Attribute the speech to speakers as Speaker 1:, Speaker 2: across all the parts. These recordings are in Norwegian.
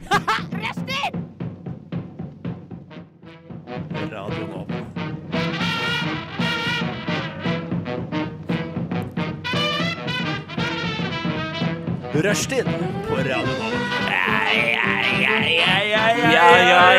Speaker 1: Røster!
Speaker 2: Radio Nova. Rushtid på Radio Nova.
Speaker 3: Ja, ja, ja, ja,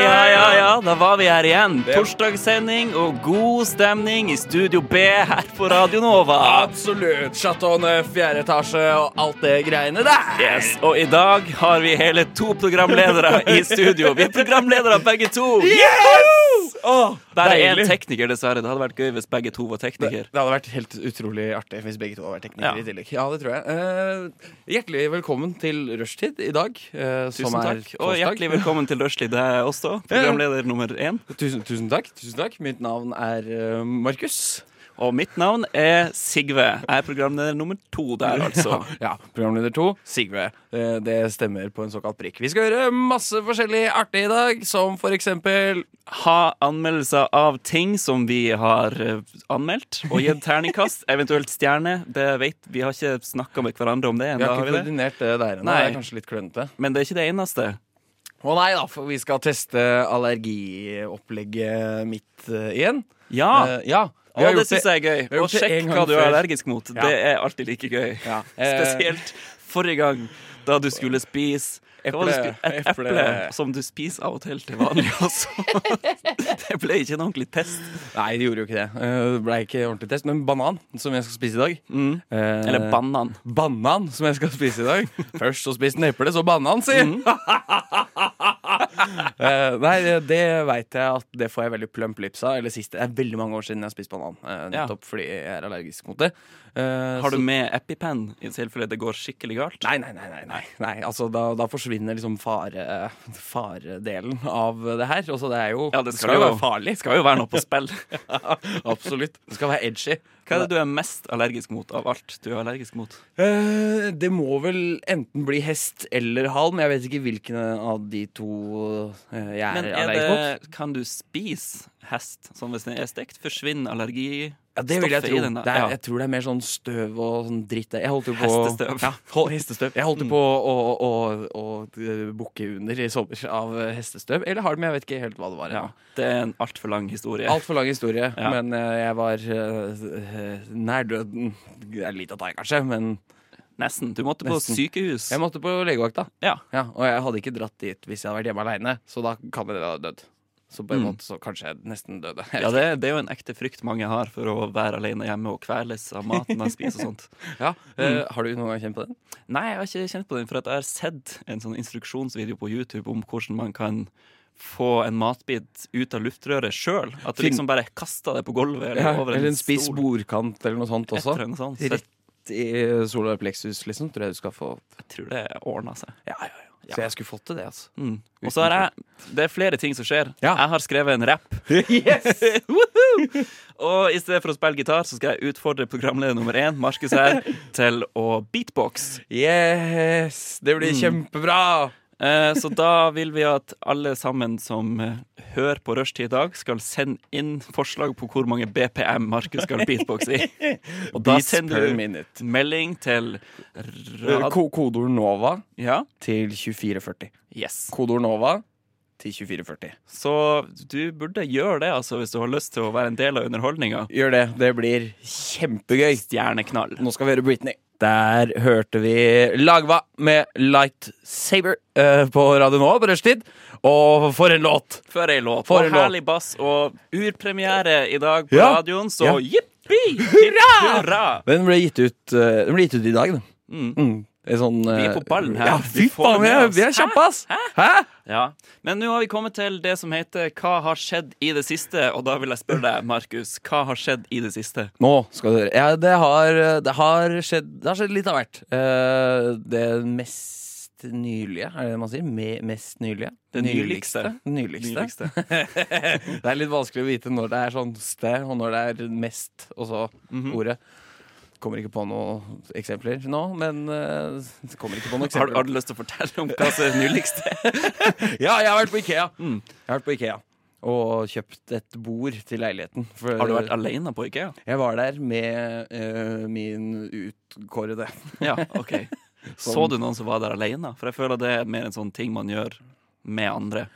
Speaker 3: ja, da var vi her igjen. Torsdagssending og god stemning i Studio B her på Radio Nova.
Speaker 4: Absolutt. Chateau Neuf, fjerde etasje og alt det greiene der.
Speaker 3: Yes, Og i dag har vi hele to programledere i studio. Vi er programledere begge to.
Speaker 4: Åh,
Speaker 3: Bare én
Speaker 4: deilig.
Speaker 3: tekniker, dessverre. Det hadde vært gøy hvis begge to var
Speaker 4: Det,
Speaker 3: tekniker.
Speaker 4: det hadde vært helt utrolig artig hvis begge to hadde vært teknikere
Speaker 3: Ja.
Speaker 4: i tillegg. Ja, det tror jeg. Eh, hjertelig velkommen til rushtid i dag. eh, som
Speaker 3: Tusen
Speaker 4: er
Speaker 3: takk. Og
Speaker 4: torsdag.
Speaker 3: hjertelig velkommen til Rushley. Det er oss da. Programleder nummer én.
Speaker 4: Eh, Tusen, tusen takk. tusen takk Mitt navn er eh, Markus.
Speaker 3: Og mitt navn er Sigve. Jeg er programleder nummer to der, altså.
Speaker 4: Ja, Programleder to, Sigve. Eh, det stemmer på en såkalt prikk. Vi skal gjøre masse forskjellig artig i dag, som for eksempel
Speaker 3: ha anmeldelser av ting som vi har eh, anmeldt og gitt terningkast, eventuelt stjerne. Det vet Vi har ikke snakka med hverandre om det
Speaker 4: Vi
Speaker 3: ennå,
Speaker 4: har
Speaker 3: har
Speaker 4: ikke
Speaker 3: vi det?
Speaker 4: koordinert eh, det der ennå. Det
Speaker 3: Nei.
Speaker 4: er kanskje litt klønete.
Speaker 3: Men det er ikke det eneste.
Speaker 4: Å nei da, for vi skal teste allergiopplegget mitt eh, igjen.
Speaker 3: Ja!
Speaker 4: Eh, ja. vi har
Speaker 3: og Ah. det
Speaker 4: gjort
Speaker 3: syns jeg er
Speaker 4: vi har
Speaker 3: gøy. Og
Speaker 4: gjort det
Speaker 3: sjekk
Speaker 4: en gang
Speaker 3: hva du er
Speaker 4: før.
Speaker 3: allergisk mot.
Speaker 4: Ja.
Speaker 3: Det er alltid like gøy.
Speaker 4: Ja. Eh,
Speaker 3: Spesielt forrige gang, da du skulle spise hva var det du skulle- Et
Speaker 4: Eple.
Speaker 3: eple som du spiser av og til til vanlig også. det ble ikke en ordentlig test.
Speaker 4: Nei, det gjorde jo ikke det. Eh, Det ble ikke ordentlig test. Men banan, som jeg skal spise i dag. Eh,
Speaker 3: Mm. Eller banan.
Speaker 4: banan, som jeg skal spise i dag. Først så spiste den eple, så banan, si!
Speaker 3: Mm.
Speaker 4: Eh, nei, det veit jeg at det får jeg veldig plump lips av. Eller sist, Det er veldig mange år siden jeg har spist banan. eh,
Speaker 3: Ja.
Speaker 4: Nettopp fordi jeg er allergisk mot det. Eh,
Speaker 3: Har
Speaker 4: så-
Speaker 3: du med EpiPen i tilfelle det går skikkelig galt?
Speaker 4: Nei, nei, nei, nei, nei. nei. Altså, da, da forsvinner liksom fare, faredelen av det her. Altså, det er jo
Speaker 3: Ja, det skal, jo være farlig. Det skal jo være noe på spill.
Speaker 4: Absolutt. Det skal være edgy.
Speaker 3: Hva er det du er mest allergisk mot av alt du er allergisk mot?
Speaker 4: Eh, det må vel enten bli hest eller halm. Jeg vet ikke hvilken av de to eh, jeg er,
Speaker 3: Men er det,
Speaker 4: allergisk mot.
Speaker 3: Kan du spise hest? Sånn hvis den er stekt, forsvinner allergi
Speaker 4: Ja, det vil jeg
Speaker 3: stoffet
Speaker 4: tro.
Speaker 3: i den, da.
Speaker 4: det er,
Speaker 3: Ja.
Speaker 4: Jeg tror det er mer sånn støv og sånn dritt. Jeg holdt jo på
Speaker 3: Hestestøv. Mm.
Speaker 4: Ja, hold- hestestøv. Jeg holdt jo på å, å, å, å bukke under i sommer av eh, hestestøv. Eller halm. Jeg vet ikke helt hva det var.
Speaker 3: Ja, det er en altfor lang historie.
Speaker 4: Altfor lang historie,
Speaker 3: Ja.
Speaker 4: men eh, jeg var eh, nær døden. Det er litt av deg, kanskje, men
Speaker 3: Nesten. Du måtte på
Speaker 4: Nesten.
Speaker 3: sykehus.
Speaker 4: jeg måtte på legevakta.
Speaker 3: Ja.
Speaker 4: Ja, og jeg hadde ikke dratt dit hvis jeg hadde vært hjemme aleine, så da kan jeg ha dødd. Så på en
Speaker 3: Mm.
Speaker 4: måte så kanskje jeg nesten døde.
Speaker 3: Ja, det, det er jo en ekte frykt mange har for å være alene hjemme og kveles av maten man spiser og sånt.
Speaker 4: Ja, eh, har du noen gang kjent på den?
Speaker 3: Nei, jeg har ikke kjent på den, for at jeg har sett en sånn instruksjonsvideo på YouTube om hvordan man kan få en matbit ut av luftrøret sjøl. At du
Speaker 4: Fin-
Speaker 3: liksom bare kaster det på gulvet eller
Speaker 4: Ja,
Speaker 3: over
Speaker 4: eller en spiss
Speaker 3: stol.
Speaker 4: bordkant eller noe sånt også.
Speaker 3: Etter en sånn, så jeg
Speaker 4: Rett i solar plexus, liksom, tror jeg du skal få
Speaker 3: tror det ordner seg.
Speaker 4: Ja, ja, ja. Så jeg skulle fått til det, altså.
Speaker 3: Mm. Og så har jeg Det er flere ting som skjer.
Speaker 4: Ja.
Speaker 3: Jeg har skrevet en rapp.
Speaker 4: Yes!
Speaker 3: Woohoo! og i stedet for å spille gitar, så skal jeg utfordre programleder nummer én, Markus her, til å beatbox.
Speaker 4: yes! Det blir kjempebra!
Speaker 3: Eh, så da vil vi at alle sammen som eh, hører på Rushtid i dag, skal sende inn forslag på hvor mange BPM Markus skal beatboxe i. Og da
Speaker 4: Beats
Speaker 3: sender
Speaker 4: per
Speaker 3: du
Speaker 4: minute.
Speaker 3: melding til rad...
Speaker 4: Eh, Ko kodeord NOVA
Speaker 3: Ja.
Speaker 4: til 2440.
Speaker 3: Yes.
Speaker 4: Kodeord NOVA til 2440.
Speaker 3: Så du burde gjøre det, altså, hvis du har lyst til å være en del av underholdninga.
Speaker 4: Gjør det. Det blir kjempegøy.
Speaker 3: Stjerneknall.
Speaker 4: Nå skal vi høre Britney. Der hørte vi Lagva med Lightsaber eh, på Radio Nova på rushtid. Og for en låt!
Speaker 3: For ei låt.
Speaker 4: For
Speaker 3: og
Speaker 4: en låt.
Speaker 3: herlig bass og urpremiere i dag på
Speaker 4: Ja.
Speaker 3: radioen, så
Speaker 4: Ja.
Speaker 3: jippi! Hurra! Hurra!
Speaker 4: Den ble gitt ut, eh, den ble gitt ut i dag, da. Mm. En sånn,
Speaker 3: Vi er
Speaker 4: eh,
Speaker 3: på ballen her.
Speaker 4: Ja,
Speaker 3: Vi
Speaker 4: fy
Speaker 3: får
Speaker 4: faen, vi
Speaker 3: med
Speaker 4: er,
Speaker 3: oss.
Speaker 4: vi er kjappe, ass! Hæ?
Speaker 3: Ja. Men nå har vi kommet til det som heter Hva har skjedd i det siste? Og da vil jeg spørre deg, Markus, hva har skjedd i det siste?
Speaker 4: Nå skal du høre. Ja, det, har, det, har skjedd, det har skjedd litt av hvert. Eh, det mest nylige, er det det man sier? Me, mest nylige?
Speaker 3: Det nyligste.
Speaker 4: Nyligste. det er litt vanskelig å vite når det er sånn sted, og når det er mest, og så
Speaker 3: Mhm.
Speaker 4: ordet. Kommer ikke på noen eksempler nå, men eh, kommer ikke på noen
Speaker 3: Har,
Speaker 4: eksempler.
Speaker 3: har du lyst til å fortelle om hva som er nyligst?
Speaker 4: Ja, jeg har vært på Ikea.
Speaker 3: Mm.
Speaker 4: Jeg har vært på Ikea og kjøpt et bord til leiligheten. For-
Speaker 3: Har du vært alene på IKEA?
Speaker 4: Jeg var der med eh, min utkårede.
Speaker 3: Ja, OK. Så du noen som var der alene? For jeg føler det er mer en sånn ting man gjør med andre?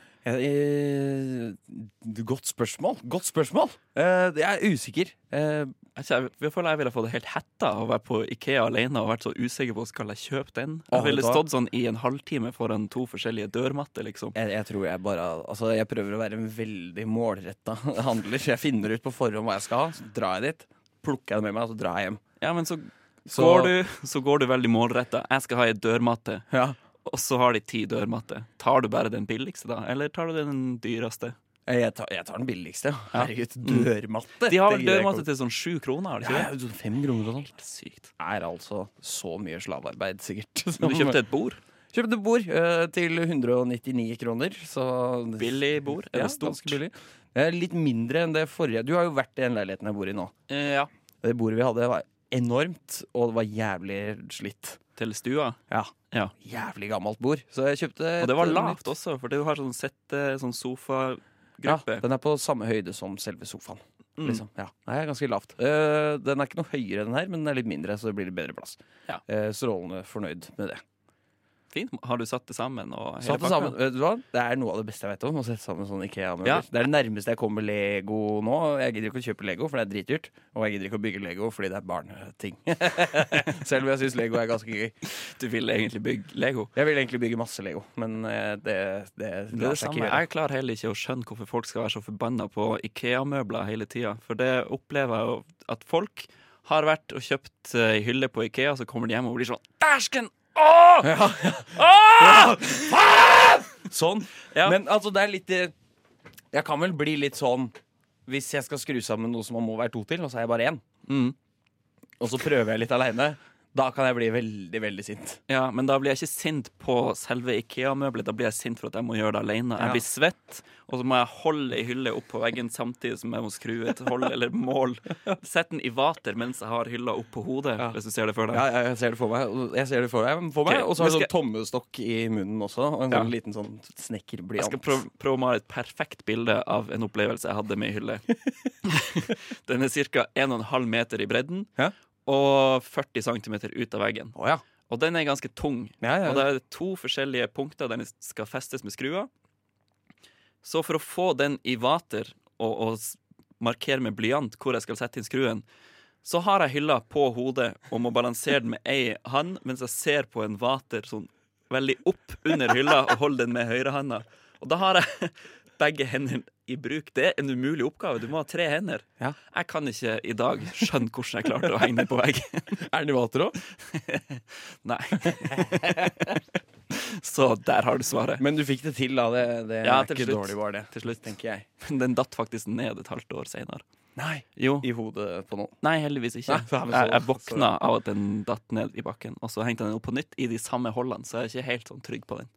Speaker 4: Eh, Godt spørsmål. Godt spørsmål. Eh, jeg er usikker. Eh,
Speaker 3: Altså, jeg, jeg føler jeg ville fått helt hetta av å være på Ikea alene og vært så usikker på skal jeg kjøpe den.
Speaker 4: Ah,
Speaker 3: Jeg ville
Speaker 4: vet du hva?
Speaker 3: stått sånn i en halvtime foran to forskjellige dørmatter, liksom.
Speaker 4: jeg, jeg tror jeg bare Altså, jeg prøver å være en veldig målretta handler. Så jeg finner ut på forhånd hva jeg skal ha, så drar jeg dit. Plukker jeg det med meg, og så drar jeg hjem.
Speaker 3: Ja, men så,
Speaker 4: Så-
Speaker 3: går du, så går du veldig målretta. Jeg skal ha ei dørmatte,
Speaker 4: Ja.
Speaker 3: og så har de ti dørmatter. Tar du bare den billigste, da? Eller tar du den dyreste?
Speaker 4: Eh, Jeg tar, jeg tar den billigste. ja. Herregud, dørmatte!
Speaker 3: Mm. De har
Speaker 4: Det
Speaker 3: vel
Speaker 4: gidder jeg
Speaker 3: dørmatte
Speaker 4: ikke
Speaker 3: til sånn sju kroner, har de
Speaker 4: å-
Speaker 3: ikke
Speaker 4: Ja,
Speaker 3: det?
Speaker 4: sånn Fem kroner og sånn.
Speaker 3: Sykt.
Speaker 4: Er altså så mye slavearbeid, sikkert.
Speaker 3: Men du kjøpte et bord?
Speaker 4: Kjøpte bord eh, til 199 kroner. Så
Speaker 3: Billig bord? Er
Speaker 4: Ja,
Speaker 3: det stort?
Speaker 4: ganske billig. Eh, Litt mindre enn det forrige. Du har jo vært i den leiligheten jeg bor i nå.
Speaker 3: Eh, ja.
Speaker 4: Det bordet vi hadde, var enormt, og det var jævlig slitt.
Speaker 3: Til stua?
Speaker 4: Ja.
Speaker 3: Ja.
Speaker 4: Jævlig gammelt bord. Så jeg kjøpte eh,
Speaker 3: Og det var lavt også, for du har sånn sette, sånn
Speaker 4: Ja,
Speaker 3: sofagruppe.
Speaker 4: den er på samme høyde som selve sofaen.
Speaker 3: Mm.
Speaker 4: Liksom. Ja, Nei, det er ganske lavt. Eh, den er ikke noe høyere enn den her, men den er litt mindre, så det blir litt bedre plass.
Speaker 3: Ja.
Speaker 4: Eh, strålende fornøyd med det.
Speaker 3: Fint. Har du satt det sammen? Og hele
Speaker 4: Satt det
Speaker 3: pakka?
Speaker 4: sammen, vet du hva? Det er noe av det beste jeg vet om. Å sette sammen sånn IKEA-møbler
Speaker 3: Ja.
Speaker 4: Det er det nærmeste jeg kommer Lego nå. Jeg gidder ikke å kjøpe Lego, for det er dritdyrt. Og jeg gidder ikke å bygge Lego fordi det er barneting. Selv om jeg syns Lego er ganske gøy.
Speaker 3: Du ville egentlig bygge Lego?
Speaker 4: Jeg vil egentlig bygge masse Lego, men eh, det, det
Speaker 3: Det er
Speaker 4: lar
Speaker 3: det
Speaker 4: seg
Speaker 3: samme.
Speaker 4: ikke gjøre.
Speaker 3: Jeg klarer heller ikke å skjønne hvorfor folk skal være så forbanna på Ikea-møbler hele tida. For det opplever jeg jo at folk har vært og kjøpt eh, ei hylle på Ikea, så kommer de hjem og blir sånn Dæsken! Åh! Åh!
Speaker 4: Sånn.
Speaker 3: Ja.
Speaker 4: Men altså, det er litt eh, Jeg kan vel bli litt sånn hvis jeg skal skru sammen noe som man må være to til, og så er jeg bare én,
Speaker 3: Mm.
Speaker 4: og så prøver jeg litt aleine, da kan jeg bli veldig, veldig sint.
Speaker 3: Ja, men da blir jeg ikke sint på selve Ikea-møbelet. Da blir jeg sint for at jeg må gjøre det alene.
Speaker 4: Ja.
Speaker 3: Jeg blir svett, og så må jeg holde ei hylle opp på veggen samtidig som jeg må skru et hold eller mål. Sett den i vater mens jeg har hylla opp på hodet,
Speaker 4: Ja.
Speaker 3: hvis du ser det for deg.
Speaker 4: Ja, ja, jeg ser det for meg. og Jeg ser det for meg, for meg.
Speaker 3: Ok,
Speaker 4: Og så har jeg
Speaker 3: men
Speaker 4: sånn tommestokk i munnen også. Og en
Speaker 3: Ja.
Speaker 4: sånn liten sånn snekkerblyant.
Speaker 3: Jeg skal prøve, prøve å male et perfekt bilde av en opplevelse jeg hadde med ei hylle. Den er ca. 1,5 meter i bredden
Speaker 4: Ja.
Speaker 3: og 40 cm ut av veggen.
Speaker 4: Å ja.
Speaker 3: Og den er ganske tung.
Speaker 4: Ja, ja,
Speaker 3: Og da er det to forskjellige punkter den skal festes med skruer. Så for å få den i vater og, og s- markere med blyant hvor jeg skal sette inn skruen, så har jeg hylla på hodet og må balansere den med ei hand mens jeg ser på en vater sånn veldig opp under hylla og holder den med høyrehanda. Og da har jeg begge hendene i bruk. Det er en umulig oppgave. Du må ha tre hender.
Speaker 4: Ja.
Speaker 3: Jeg kan ikke i dag skjønne hvordan jeg klarte å henge den på veggen.
Speaker 4: Er den i vater òg?
Speaker 3: Nei. Så der har du svaret.
Speaker 4: Men du fikk det til, da. Det, det
Speaker 3: Ja,
Speaker 4: er
Speaker 3: til
Speaker 4: ikke
Speaker 3: slutt.
Speaker 4: dårlig, var det.
Speaker 3: Til slutt.
Speaker 4: Tenker jeg.
Speaker 3: Men den datt faktisk ned et halvt år seinere.
Speaker 4: Nei.
Speaker 3: Jo.
Speaker 4: I hodet på noen.
Speaker 3: Nei, heldigvis ikke.
Speaker 4: Nei, det er vel så-
Speaker 3: jeg, jeg våkna av at den datt ned i bakken, og så hengte jeg den opp på nytt i de samme hullene, så jeg er ikke helt sånn trygg på den.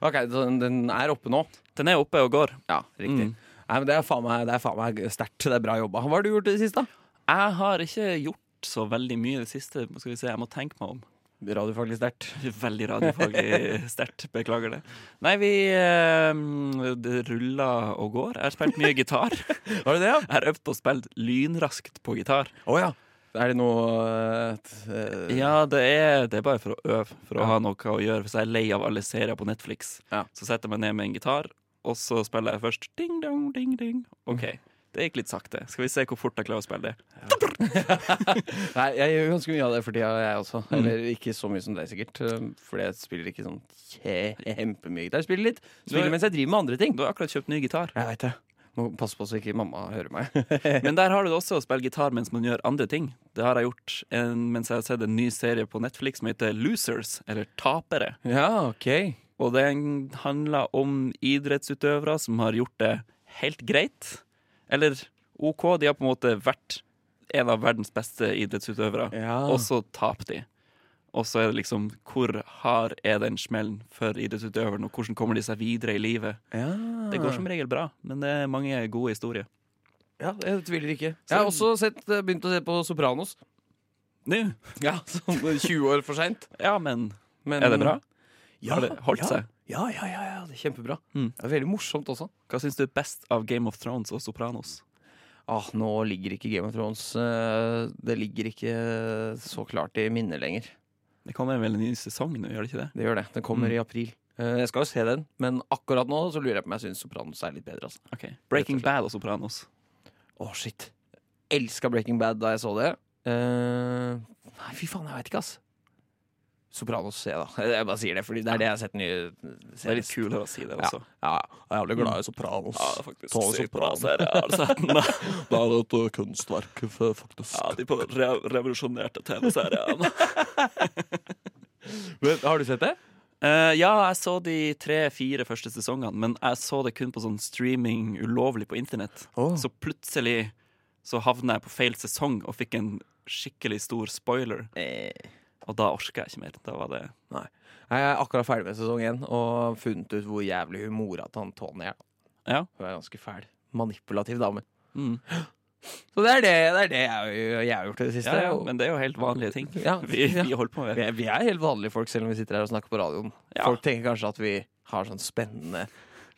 Speaker 4: Ok, så den, den er oppe nå.
Speaker 3: Den er oppe og går.
Speaker 4: Ja, riktig.
Speaker 3: Mm.
Speaker 4: Nei, men Det er faen meg, det er faen meg sterkt. Det er bra jobba. Hva har du gjort i det siste? da?
Speaker 3: Jeg har ikke gjort så veldig mye i det siste, skal vi se, jeg må tenke meg om.
Speaker 4: Radiofaglig sterkt.
Speaker 3: Veldig radiofaglig sterkt, beklager det. Nei, vi eh, Det ruller og går. Jeg har spilt mye gitar. Jeg
Speaker 4: Var det det, ja?
Speaker 3: har øvd på å spille lynraskt på gitar.
Speaker 4: Å ja. Er det noe eh, t- eh,
Speaker 3: Ja, det er, det er bare for å øve, for å
Speaker 4: Ja.
Speaker 3: ha noe å gjøre. Hvis jeg er lei av alle serier på Netflix,
Speaker 4: Ja.
Speaker 3: så setter jeg meg ned med en gitar, og så spiller jeg først ding dong, ding ding. OK. Det gikk litt sakte. Skal vi se hvor fort jeg klarer å spille det.
Speaker 4: Nei, jeg gjør ganske mye av det for tida, jeg også. Eller ikke så mye som deg, sikkert. eh, Fordi jeg spiller ikke sånn kjempemye gitar. Jeg spiller litt.
Speaker 3: Du
Speaker 4: Spiller
Speaker 3: er-
Speaker 4: mens jeg driver med andre ting.
Speaker 3: Du har akkurat kjøpt ny gitar.
Speaker 4: Jeg veit det. Må passe på så ikke mamma hører meg.
Speaker 3: Men der har du det også å spille gitar mens man gjør andre ting. Det har jeg gjort en, mens jeg har sett en ny serie på Netflix som heter Losers, eller Tapere.
Speaker 4: ja, ok.
Speaker 3: Og den handler om idrettsutøvere som har gjort det helt greit. Eller OK, de har på en måte vært en av verdens beste idrettsutøvere,
Speaker 4: Ja.
Speaker 3: og så taper de. Og så er det liksom hvor hard er den smellen for idrettsutøveren, og hvordan kommer de seg videre i livet?
Speaker 4: Ja.
Speaker 3: Det
Speaker 4: Mm.
Speaker 3: går som regel bra, men det er mange gode historier.
Speaker 4: Ja, jeg tviler ikke. Jeg har også sett, eh, begynt å se på Sopranos.
Speaker 3: Nå?
Speaker 4: Ja, Sånn 20 år for seint.
Speaker 3: Ja, men
Speaker 4: Men-
Speaker 3: er det bra?
Speaker 4: Ja,
Speaker 3: Har det holdt
Speaker 4: ja.
Speaker 3: seg?
Speaker 4: Ja, ja, ja, ja, det er kjempebra.
Speaker 3: Mm.
Speaker 4: Det er veldig morsomt også.
Speaker 3: Hva syns du er best av Game of Thrones og Sopranos?
Speaker 4: Ah, nå ligger ikke Game of Thrones eh, Det ligger ikke så klart i minnet lenger.
Speaker 3: Det kommer vel en ny sesong nå, gjør det ikke det?
Speaker 4: Det gjør det. Den kommer i april. Eh, Jeg skal jo se den, men akkurat nå så lurer jeg på om jeg syns Sopranos er litt bedre. Altså.
Speaker 3: Ok, Breaking Bad og Sopranos.
Speaker 4: Åh, shit. Elska Breaking Bad da jeg så det. Eh, nei, fy faen, jeg veit ikke, ass. Sopranos ser jeg, da. Jeg bare sier det, fordi det er det jeg har sett nye
Speaker 3: Det er litt kulere å si det altså. også.
Speaker 4: Ja, jeg er jævlig glad i Sopranos. Tove
Speaker 3: Sykt bra
Speaker 4: Sopranos.
Speaker 3: serie. Har du sett den? da?
Speaker 4: Det er et uh, kunstverk, f- faktisk.
Speaker 3: Ja, de på re revolusjonerte TV-seriene.
Speaker 4: Men, har du sett det?
Speaker 3: Eh, ja, jeg så de tre-fire første sesongene, men jeg så det kun på sånn streaming ulovlig på internett.
Speaker 4: Åh.
Speaker 3: Så plutselig så havna jeg på feil sesong og fikk en skikkelig stor spoiler. Og da orka jeg ikke mer. Da var det
Speaker 4: Eh. Nei. Jeg er akkurat ferdig med sesong én og funnet ut hvor jævlig hun mora til han Tony er.
Speaker 3: Ja.
Speaker 4: Hun er ganske fæl. Manipulativ dame.
Speaker 3: Mm.
Speaker 4: Så det er det, det, er det jeg, jeg har gjort i det
Speaker 3: Ja,
Speaker 4: siste.
Speaker 3: ja,
Speaker 4: og-
Speaker 3: men det er jo helt vanlige ting
Speaker 4: Ja,
Speaker 3: vi,
Speaker 4: ja.
Speaker 3: vi holder på
Speaker 4: vi,
Speaker 3: med.
Speaker 4: er, vi er helt vanlige folk, selv om vi sitter her og snakker på radioen.
Speaker 3: Ja.
Speaker 4: Folk tenker kanskje at vi har sånn spennende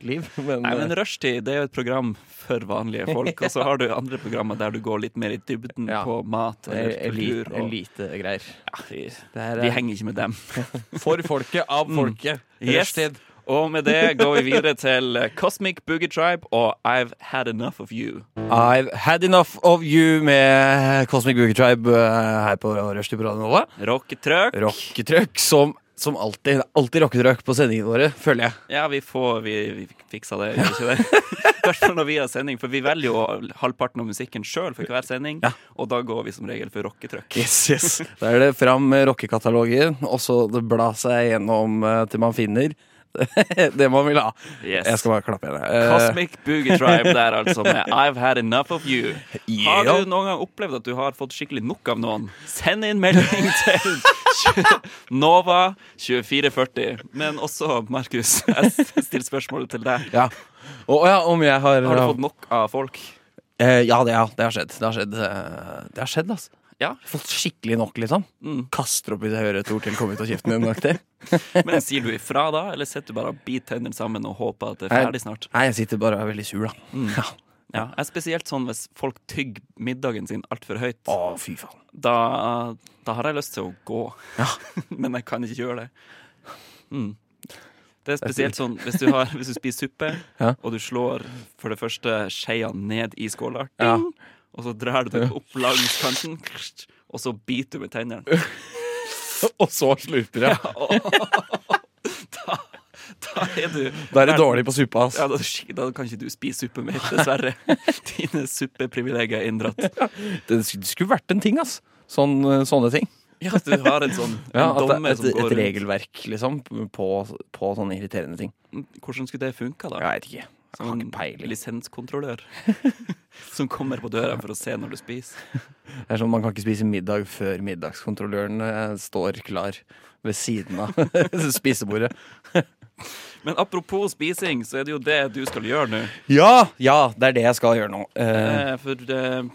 Speaker 4: liv, men,
Speaker 3: Nei, men
Speaker 4: eh,
Speaker 3: Rushtid det er jo et program for vanlige folk. Og så har du andre programmer der du går litt mer i dybden
Speaker 4: Ja.
Speaker 3: på mat
Speaker 4: det
Speaker 3: eller
Speaker 4: er eh, elite,
Speaker 3: kultur. Og,
Speaker 4: elitegreier.
Speaker 3: ja, vi,
Speaker 4: Det er
Speaker 3: vi
Speaker 4: eh,
Speaker 3: henger ikke med dem.
Speaker 4: for folket, av folket.
Speaker 3: Yes.
Speaker 4: Rushtid.
Speaker 3: Og med det går vi videre til eh, Cosmic Boogie Tribe og I've Had Enough of You.
Speaker 4: I've had enough of you med Cosmic Booker Tribe eh, her på Rushtid på Radio Nova.
Speaker 3: Rocketrøkk.
Speaker 4: Rocketrøkk som, som alltid. Det er Alltid rocketrøkk på sendingene våre, føler jeg.
Speaker 3: Ja, vi får Vi, vi fiksa det, gjør vi ikke det? I hvert fall når vi har sending, for vi velger jo halvparten av musikken sjøl for hver sending. Og da går vi som regel for rocketrøkk.
Speaker 4: Yes, yes. Da er det fram med rockekatalogen, og så det bla seg gjennom eh, til man finner det man vil ha.
Speaker 3: Yes.
Speaker 4: Jeg skal bare klappe igjen. jeg. Eh,
Speaker 3: Cosmic Boogie Tribe der, altså, med I've Had Enough of You. Har
Speaker 4: ja.
Speaker 3: du noen gang opplevd at du har fått skikkelig nok av noen? Send inn melding til Nova 2440. Men også, Markus, jeg stiller spørsmålet til deg.
Speaker 4: Ja. Og ja, om jeg har,
Speaker 3: Har du fått nok av folk?
Speaker 4: Eh, Ja, det, ja, det har skjedd. Det har skjedd, eh, det har skjedd altså.
Speaker 3: Ja.
Speaker 4: Fått skikkelig nok, liksom. Kaster opp hvis jeg hører et ord til komme ut av kjeften din. Nok til.
Speaker 3: Men sier du ifra da, eller sitter du bare og biter tennene sammen og håper at det er
Speaker 4: Nei.
Speaker 3: ferdig snart?
Speaker 4: Nei, jeg sitter bare og er veldig sur, da. Ja.
Speaker 3: Ja, jeg er spesielt sånn hvis folk tygger middagen sin altfor høyt.
Speaker 4: Å, fy faen.
Speaker 3: Da, da har jeg lyst til å gå,
Speaker 4: Ja.
Speaker 3: men jeg kan ikke gjøre det. Mm. Det er spesielt sånn hvis du, har, hvis du spiser suppe,
Speaker 4: Ja.
Speaker 3: og du slår for det første skeia ned i skåla,
Speaker 4: Ja.
Speaker 3: ding, og så drar du den opp langs kanten, og så biter du med tennene.
Speaker 4: Og så slurper jeg.
Speaker 3: Da er du
Speaker 4: Da er det dårlig på suppa, ass.
Speaker 3: Ja, da, skik- da kan ikke du spise suppe mer, dessverre. Dine suppeprivilegier er inndratt.
Speaker 4: Det sk- det skulle vært en ting, ass. Sånn, sånne ting.
Speaker 3: Ja, du har en sånn en
Speaker 4: Ja, at det,
Speaker 3: dommer
Speaker 4: et,
Speaker 3: som går
Speaker 4: et
Speaker 3: rundt.
Speaker 4: regelverk, liksom, på, på sånne irriterende ting.
Speaker 3: Hvordan skulle det funka, da?
Speaker 4: Jeg veit ikke. Jeg har
Speaker 3: Som en
Speaker 4: ikke peiling.
Speaker 3: lisenskontrollør som kommer på døra for å se når du spiser.
Speaker 4: Det er sånn, Man kan ikke spise middag før middagskontrolløren eh, står klar ved siden av spisebordet.
Speaker 3: Men apropos spising, så er det jo det du skal gjøre nå.
Speaker 4: Ja! Ja, det er det jeg skal gjøre nå. Eh,
Speaker 3: Eh, For eh,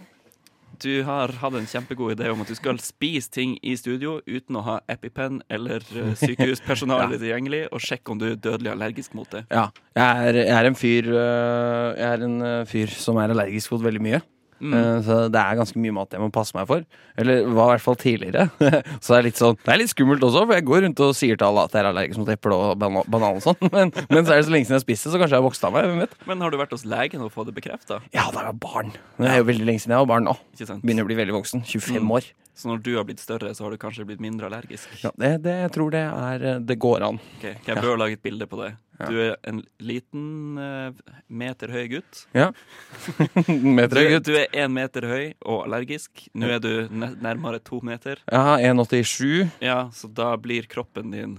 Speaker 3: du har hatt en kjempegod idé om at du skal spise ting i studio uten å ha EpiPen eller eh, sykehuspersonale tilgjengelig, og sjekke om du er dødelig allergisk mot det.
Speaker 4: ja. Jeg er, jeg er en fyr eh, Jeg er en eh, fyr som er allergisk mot veldig mye.
Speaker 3: Mm.
Speaker 4: Eh, Så det er ganske mye mat jeg må passe meg for. Eller var i hvert fall tidligere. så det er litt sånn Det er litt skummelt også, for jeg går rundt og sier til alle at jeg er allergisk mot eple og bana- banan og sånn. Men, men så er det så lenge siden jeg spiste, så kanskje jeg har vokst av meg. Hvem vet?
Speaker 3: Men har du vært hos legen og fått det bekrefta?
Speaker 4: Ja, da er jeg barn. Men det er jo veldig lenge siden jeg var barn nå.
Speaker 3: Ikke sant?
Speaker 4: Begynner å bli veldig voksen. 25 år.
Speaker 3: Så når du har blitt større, så har du kanskje blitt mindre allergisk?
Speaker 4: Mm. Ja, det, det jeg tror det er eh, Det går an.
Speaker 3: Ok, ok, jeg bør lage et bilde på det. Du er en liten eh, meter høy gutt.
Speaker 4: Ja.
Speaker 3: Du,
Speaker 4: Meter høy gutt.
Speaker 3: du er én meter høy og allergisk. Nå er du ne- nærmere to meter.
Speaker 4: Jeg har 1,87.
Speaker 3: Ja, så da blir kroppen din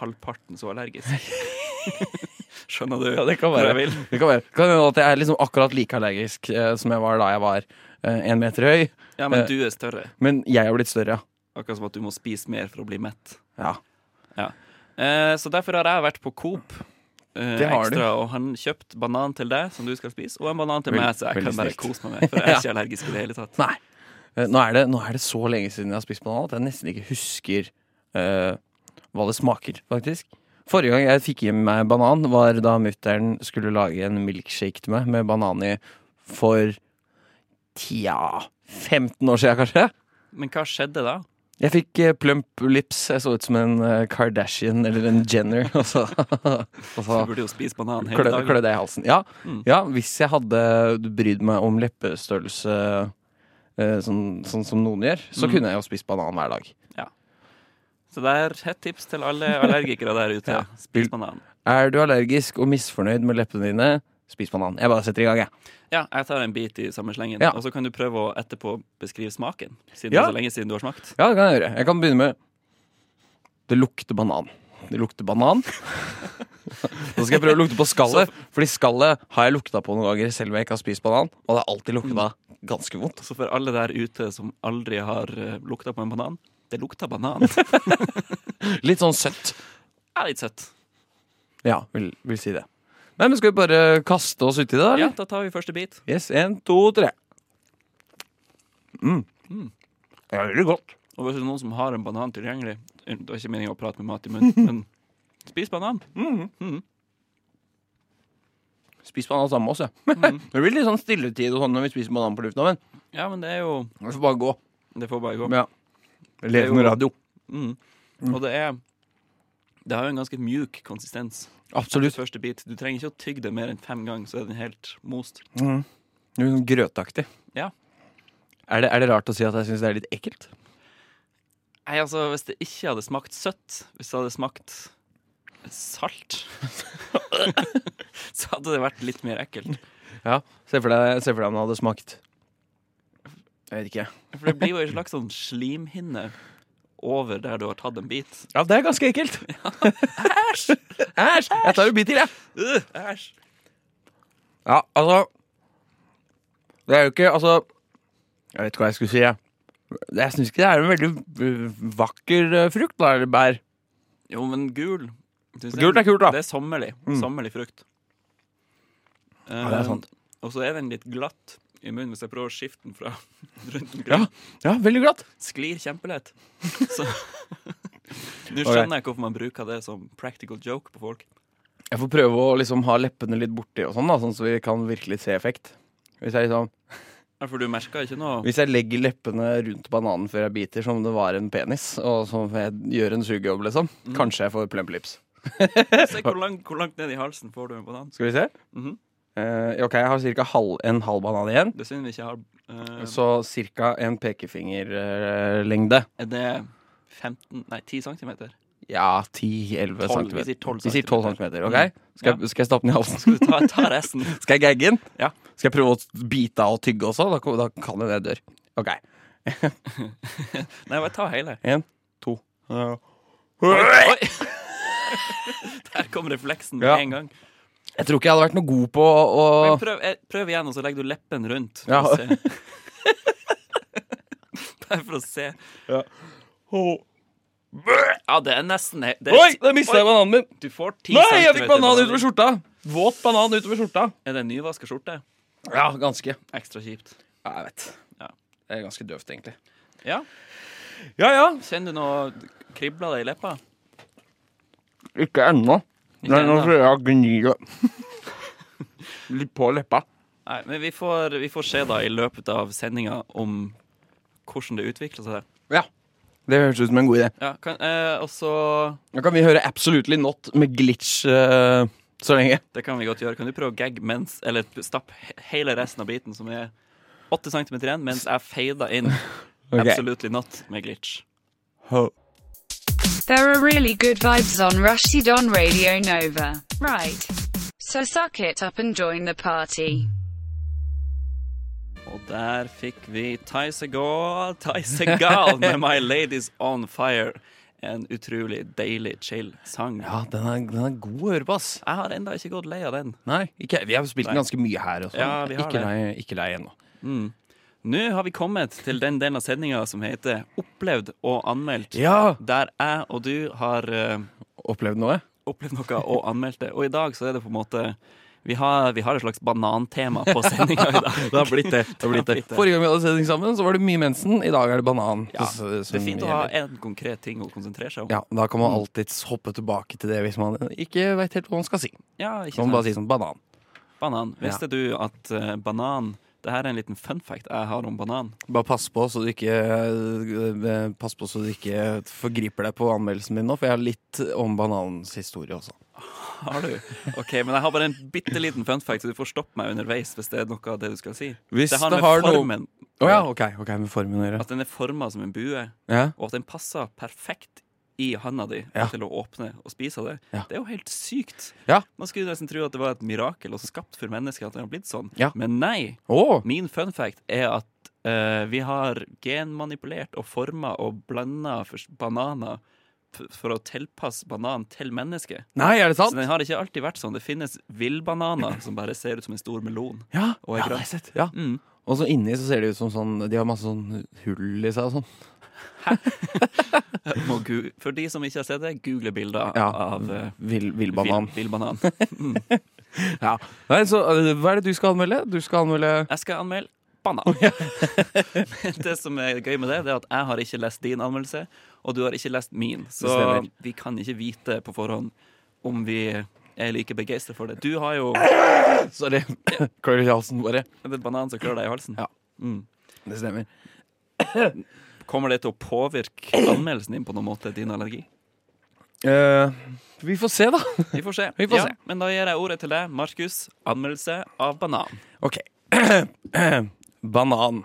Speaker 3: halvparten så allergisk. Skjønner du
Speaker 4: Ja, det kan
Speaker 3: hvor
Speaker 4: være.
Speaker 3: jeg vil?
Speaker 4: Det kan være det kan hende at jeg er liksom akkurat like allergisk eh, som jeg var da jeg var én meter høy.
Speaker 3: Ja, men du er større.
Speaker 4: Men jeg har blitt større, ja.
Speaker 3: Akkurat som at du må spise mer for å bli mett.
Speaker 4: ja.
Speaker 3: Eh, så derfor har jeg vært på Coop. eh,
Speaker 4: Det har du.
Speaker 3: ekstra, og han kjøpt banan til deg, som du skal spise, og en banan til
Speaker 4: Vel-
Speaker 3: meg, så jeg
Speaker 4: veldig
Speaker 3: kan bare
Speaker 4: snilt.
Speaker 3: kose meg med. For jeg er ikke allergisk i det hele tatt.
Speaker 4: Nei. Eh, Nå er, det, nå er det så lenge siden jeg har spist banan at jeg nesten ikke husker eh, hva det smaker, faktisk. Forrige gang jeg fikk i meg banan, var da mutter'n skulle lage en milkshake til meg med banan i for tja 15 år siden, kanskje.
Speaker 3: Men hva skjedde da?
Speaker 4: Jeg fikk eh, plump lips. Jeg så ut som en eh, Kardashian eller en Jenner. altså. Og så, og så
Speaker 3: Du burde jo spise banan hele
Speaker 4: klødde,
Speaker 3: dagen.
Speaker 4: klødde jeg i halsen. Ja,
Speaker 3: Mm.
Speaker 4: ja, hvis jeg hadde brydd meg om leppestørrelse eh, sånn, sånn som noen gjør, så
Speaker 3: Mm.
Speaker 4: kunne jeg jo spist banan hver dag.
Speaker 3: Så det er et tips til alle allergikere der ute.
Speaker 4: Ja.
Speaker 3: Spis banan.
Speaker 4: Er du allergisk og misfornøyd med leppene dine, spis banan. Jeg bare setter i gang, jeg.
Speaker 3: Ja, jeg tar en bit i samme slengen,
Speaker 4: Ja.
Speaker 3: og så kan du prøve å etterpå beskrive smaken. Siden
Speaker 4: Ja.
Speaker 3: det er så lenge siden du har smakt.
Speaker 4: Ja, det kan jeg gjøre. Jeg kan begynne med Det lukter banan. Det lukter banan. Så skal jeg prøve å lukte på skallet, Fordi skallet har jeg lukta på noen ganger selv om jeg ikke har spist banan. Og det har alltid lukta ganske vondt.
Speaker 3: Så for alle der ute som aldri har eh, lukta på en banan det lukter banan. Det
Speaker 4: Litt sånn søtt.
Speaker 3: er litt søtt.
Speaker 4: Ja, vil, vil si det. Nei, men Skal vi bare kaste oss uti det, da?
Speaker 3: Ja,
Speaker 4: Eller?
Speaker 3: da tar vi første bit.
Speaker 4: Yes, En, to, tre. Mm. Det er veldig godt.
Speaker 3: Og hvis det er noen som har en banan tilgjengelig eh, Det var ikke meningen å prate med mat i munnen, men spis banan.
Speaker 4: Spis banan sammen med oss, ja. det blir litt sånn stilletid og sånn når vi spiser banan på lufta, men
Speaker 3: Ja, men det er jo
Speaker 4: vi får bare gå.
Speaker 3: Det får bare gå.
Speaker 4: Ja. Levende radio.
Speaker 3: Mm. Og det er Det har jo en ganske mjuk konsistens.
Speaker 4: Absolutt.
Speaker 3: Første bit. Du trenger ikke å tygge det mer enn fem ganger, så er den helt most.
Speaker 4: Det er sånn grøtaktig.
Speaker 3: Ja.
Speaker 4: Er det, er det rart å si at jeg syns det er litt ekkelt?
Speaker 3: Nei, altså, hvis det ikke hadde smakt søtt, hvis det hadde smakt salt, så hadde det vært litt mer ekkelt.
Speaker 4: Ja. Se for deg, se for deg om det hadde smakt Jeg vet ikke.
Speaker 3: For det blir jo en slags sånn slimhinne over der du har tatt en bit.
Speaker 4: Ja, det er ganske ekkelt. Æsj! Æsj! Jeg tar en bit til, jeg.
Speaker 3: Øh, Æsj!
Speaker 4: Ja, altså Det er jo ikke Altså Jeg vet ikke hva jeg skulle si, jeg. Jeg syns ikke det er en veldig øh, vakker øh, frukt, da, eller bær.
Speaker 3: Jo, men gul synes jeg-
Speaker 4: Gult er kult, da.
Speaker 3: Det er sommerlig. Sommerlig frukt.
Speaker 4: det er sant.
Speaker 3: Eh, og så er den litt glatt i munnen, hvis jeg prøver å skifte den fra rundt omkring.
Speaker 4: Ja, Eh, ja veldig glatt.
Speaker 3: sklir kjempelett. Så Nå skjønner jeg hvorfor man bruker det som practical joke på folk.
Speaker 4: Jeg får prøve å liksom ha leppene litt borti, og sånn da sånn så vi kan virkelig se effekt. Hvis jeg, liksom,
Speaker 3: Ja, For du merker ikke noe
Speaker 4: hvis jeg legger leppene rundt bananen før jeg biter, som om det var en penis, og så får jeg gjør en sugejobb, liksom, kanskje jeg får plump lips.
Speaker 3: Se hvor langt, hvor langt ned i halsen får du en banan.
Speaker 4: Skal vi se?
Speaker 3: Mhm.
Speaker 4: Eh, ok, jeg har cirka halv, en halv banan igjen.
Speaker 3: Det synd vi ikke har eh,
Speaker 4: Så ca. en pekefingerlengde.
Speaker 3: Er det 15, nei 10 centimeter?
Speaker 4: Ja,
Speaker 3: Tolv,
Speaker 4: 10-11 cm.
Speaker 3: vi sier tolv
Speaker 4: Vi sier Mm. 12 cm. Ok? Skal, jeg- skal jeg stappe den i halsen?
Speaker 3: Skal du ta, ta resten?
Speaker 4: Skal jeg gagge den?
Speaker 3: Ja.
Speaker 4: Skal jeg prøve å bite av og tygge også? Da, ko- da kan det jeg dør. Ok.
Speaker 3: Nei, bare ta hele.
Speaker 4: En, to. Ja.
Speaker 3: Oi! Der kom refleksen med
Speaker 4: Ja.
Speaker 3: en gang.
Speaker 4: Jeg tror ikke jeg hadde vært noe god på å
Speaker 3: Men
Speaker 4: å-
Speaker 3: prøv, eh, prøv igjen, og så legger du leppen rundt.
Speaker 4: Ja.
Speaker 3: For å se. Bare for å se. Ja, det er nesten he- det er-
Speaker 4: Oi, da mista jeg bananen min!
Speaker 3: Du får 10
Speaker 4: Nei, jeg fikk
Speaker 3: centimeter
Speaker 4: banan utover
Speaker 3: banan.
Speaker 4: skjorta! Våt banan utover skjorta.
Speaker 3: Er det en nyvaska skjorte?
Speaker 4: Ja, ganske.
Speaker 3: Ekstra kjipt.
Speaker 4: Ja, jeg vet.
Speaker 3: Ja.
Speaker 4: Det er ganske døvt, egentlig.
Speaker 3: Ja.
Speaker 4: Ja, ja.
Speaker 3: Kjenner du noe kribla deg i leppa?
Speaker 4: Ikke ennå.
Speaker 3: Ikke Nei, nå ennå. tror
Speaker 4: jeg jeg gnir litt på leppa.
Speaker 3: Nei, men vi får, vi får se da i løpet av sendinga om hvordan det utvikler seg.
Speaker 4: Ja. Det høres ut som en god idé.
Speaker 3: Ja, kan, eh, og så
Speaker 4: Da kan vi høre Absolutely Not med glitch eh, så lenge.
Speaker 3: Det kan vi godt gjøre. Kan du prøve å gagge mens Eller stappe he- hele resten av biten, som er 8 cm igjen, mens jeg fader inn
Speaker 4: Ok.
Speaker 3: Absolutely Not med glitch.
Speaker 4: Ho.
Speaker 1: There are really good vibes on Rushdie on Radio Nova. Right. So suck it up and join the party.
Speaker 3: Og der fikk vi Ty Segal, Ty Segal med My Ladies On Fire. En utrolig deilig, chill sang.
Speaker 4: Ja, den er, den er god å høre på, ass.
Speaker 3: Jeg har enda ikke gått lei av den.
Speaker 4: Nei, ikke, vi har spilt den ganske mye her også.
Speaker 3: Ja, vi har
Speaker 4: ikke,
Speaker 3: det.
Speaker 4: lei, ikke lei ennå.
Speaker 3: Nå har vi kommet til den delen av sendinga som heter Opplevd og anmeldt.
Speaker 4: Ja!
Speaker 3: Der jeg og du har eh,
Speaker 4: Opplevd noe?
Speaker 3: opplevd noe og anmeldt det. Og i dag så er det på en måte Vi har, vi har et slags banantema på sendinga i dag.
Speaker 4: Det har blitt det. det, har blitt det. Forrige gang vi hadde sending sammen, så var det mye mensen. I dag er det banan.
Speaker 3: Ja,
Speaker 4: Så-
Speaker 3: det er
Speaker 4: som
Speaker 3: fint å ha
Speaker 4: gjelder.
Speaker 3: én konkret ting å konsentrere seg om.
Speaker 4: ja, Da kan man alltids hoppe tilbake til det hvis man ikke veit helt hva man skal si.
Speaker 3: Ja, ikke
Speaker 4: Man
Speaker 3: sant?
Speaker 4: bare si sånn banan.
Speaker 3: Banan. Visste du at eh, banan Det her er en liten fun fact jeg har om banan.
Speaker 4: Bare pass på så du ikke eh, Pass på så du ikke forgriper deg på anmeldelsen min nå, for jeg har litt om bananens historie også.
Speaker 3: Har du? Ok, Men jeg har bare en bitte liten fun fact, så du får stoppe meg underveis hvis det er noe av det du skal si.
Speaker 4: Hvis
Speaker 3: det har
Speaker 4: det
Speaker 3: med
Speaker 4: har noe-
Speaker 3: formen
Speaker 4: Å ja, ok, ok, med formen å gjøre.
Speaker 3: At den er forma som en bue,
Speaker 4: Ja.
Speaker 3: og at den passer perfekt i handa di
Speaker 4: Ja.
Speaker 3: til å åpne og spise det.
Speaker 4: Ja.
Speaker 3: Det er jo helt sykt.
Speaker 4: Ja.
Speaker 3: Man skulle nesten tro at det var et mirakel og skapt for mennesker at den har blitt sånn.
Speaker 4: Ja.
Speaker 3: Men nei.
Speaker 4: Å,
Speaker 3: Min fun fact er at eh, vi har genmanipulert og forma og blanda bananer f- for å tilpasse bananen til mennesket.
Speaker 4: nei, er det
Speaker 3: Så
Speaker 4: sant?
Speaker 3: den har ikke alltid vært sånn. Det finnes villbananer som bare ser ut som en stor melon.
Speaker 4: Ja,
Speaker 3: Og er grønn.
Speaker 4: ja, altså. det har jeg sett. Ja.
Speaker 3: Mm.
Speaker 4: Og så inni så ser det ut som sånn De har masse sånn hull i seg og sånn.
Speaker 3: Må gu- For de som ikke har sett det, google bilder
Speaker 4: Ja.
Speaker 3: av eh,
Speaker 4: Vill,
Speaker 3: vill-
Speaker 4: villbanan.
Speaker 3: villbanan.
Speaker 4: Ja. Nei, så øh, hva er det du skal anmelde? Du skal anmelde
Speaker 3: Jeg skal anmelde banan. det som er gøy med det, det er at jeg har ikke lest din anmeldelse, og du har ikke lest min. Så
Speaker 4: stemmer.
Speaker 3: vi kan ikke vite på forhånd om vi er like begeistra for det. Du har jo
Speaker 4: Sorry. Klør i halsen, bare.
Speaker 3: en banan som klør deg i halsen.
Speaker 4: Ja.
Speaker 3: Mm.
Speaker 4: Det stemmer.
Speaker 3: Kommer det til å påvirke anmeldelsen din på noen måte, din allergi?
Speaker 4: Eh, vi får se, da.
Speaker 3: Vi får se.
Speaker 4: Vi får
Speaker 3: ja,
Speaker 4: se.
Speaker 3: Men da gir jeg ordet til deg, Markus. Anmeldelse av banan.
Speaker 4: OK. Banan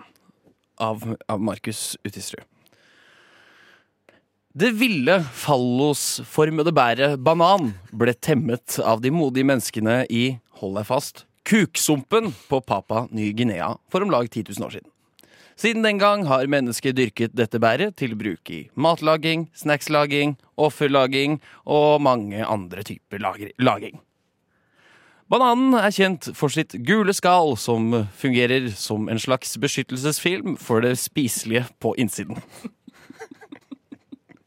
Speaker 4: av, av Markus Utisrud. Det ville fallosformede bæret banan ble temmet av de modige menneskene i hold deg fast kuksumpen på Papa Ny-Guinea for om lag 10 000 år siden. Siden den gang har mennesket dyrket dette bæret til bruk i matlaging, snackslaging, offerlaging og mange andre typer lager- laging. Bananen er kjent for sitt gule skall, som fungerer som en slags beskyttelsesfilm for det spiselige på innsiden.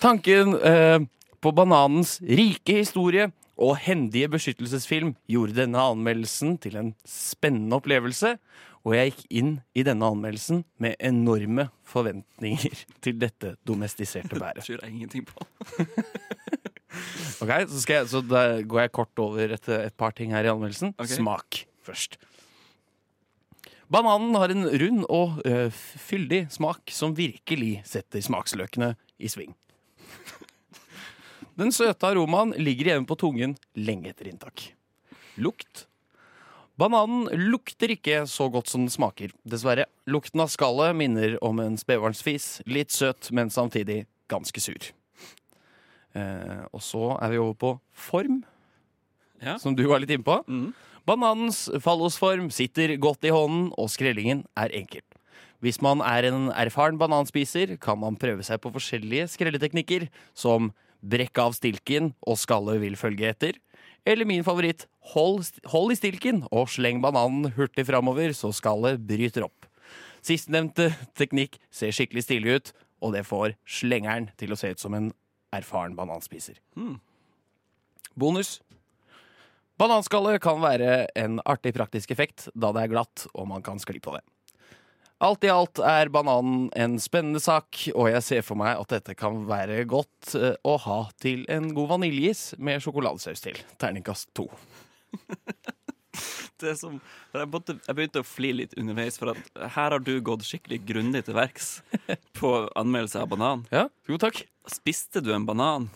Speaker 4: Tanken eh, på bananens rike historie og hendige beskyttelsesfilm gjorde denne anmeldelsen til en spennende opplevelse, og jeg gikk inn i denne anmeldelsen med enorme forventninger til dette domestiserte bæret.
Speaker 3: Det tror jeg ingenting på.
Speaker 4: Ok, så, skal jeg, så da går jeg kort over et, et par ting her i anmeldelsen.
Speaker 3: Ok.
Speaker 4: Smak først. Bananen har en rund og ø, fyldig smak som virkelig setter smaksløkene i sving. Den søte aromaen ligger igjen på tungen lenge etter inntak. Lukt. Bananen lukter ikke så godt som den smaker, dessverre. Lukten av skallet minner om en spedbarnsfis. Litt søt, men samtidig ganske sur. Eh, og så er vi over på form,
Speaker 3: Ja.
Speaker 4: som du var litt inne på.
Speaker 3: Mhm.
Speaker 4: Bananens fallosform sitter godt i hånden, og skrellingen er enkel. Hvis man er en erfaren bananspiser, kan man prøve seg på forskjellige skrelleteknikker, som brekk av stilken og skallet vil følge etter. Eller min favoritt, hold, st- hold i stilken og sleng bananen hurtig framover så skallet bryter opp. Sistnevnte teknikk ser skikkelig stilig ut, og det får slengeren til å se ut som en erfaren bananspiser. Hmm. Bonus. Bananskallet kan være en artig praktisk effekt, da det er glatt og man kan skli på det. Alt i alt er bananen en spennende sak, og jeg ser for meg at dette kan være godt eh, å ha til en god vaniljeis med sjokoladesaus til. Terningkast to.
Speaker 3: det som jeg, måtte, jeg begynte å flire litt underveis, for at her har du gått skikkelig grundig til verks på anmeldelse av banan.
Speaker 4: Ja, jo takk.
Speaker 3: Spiste du en banan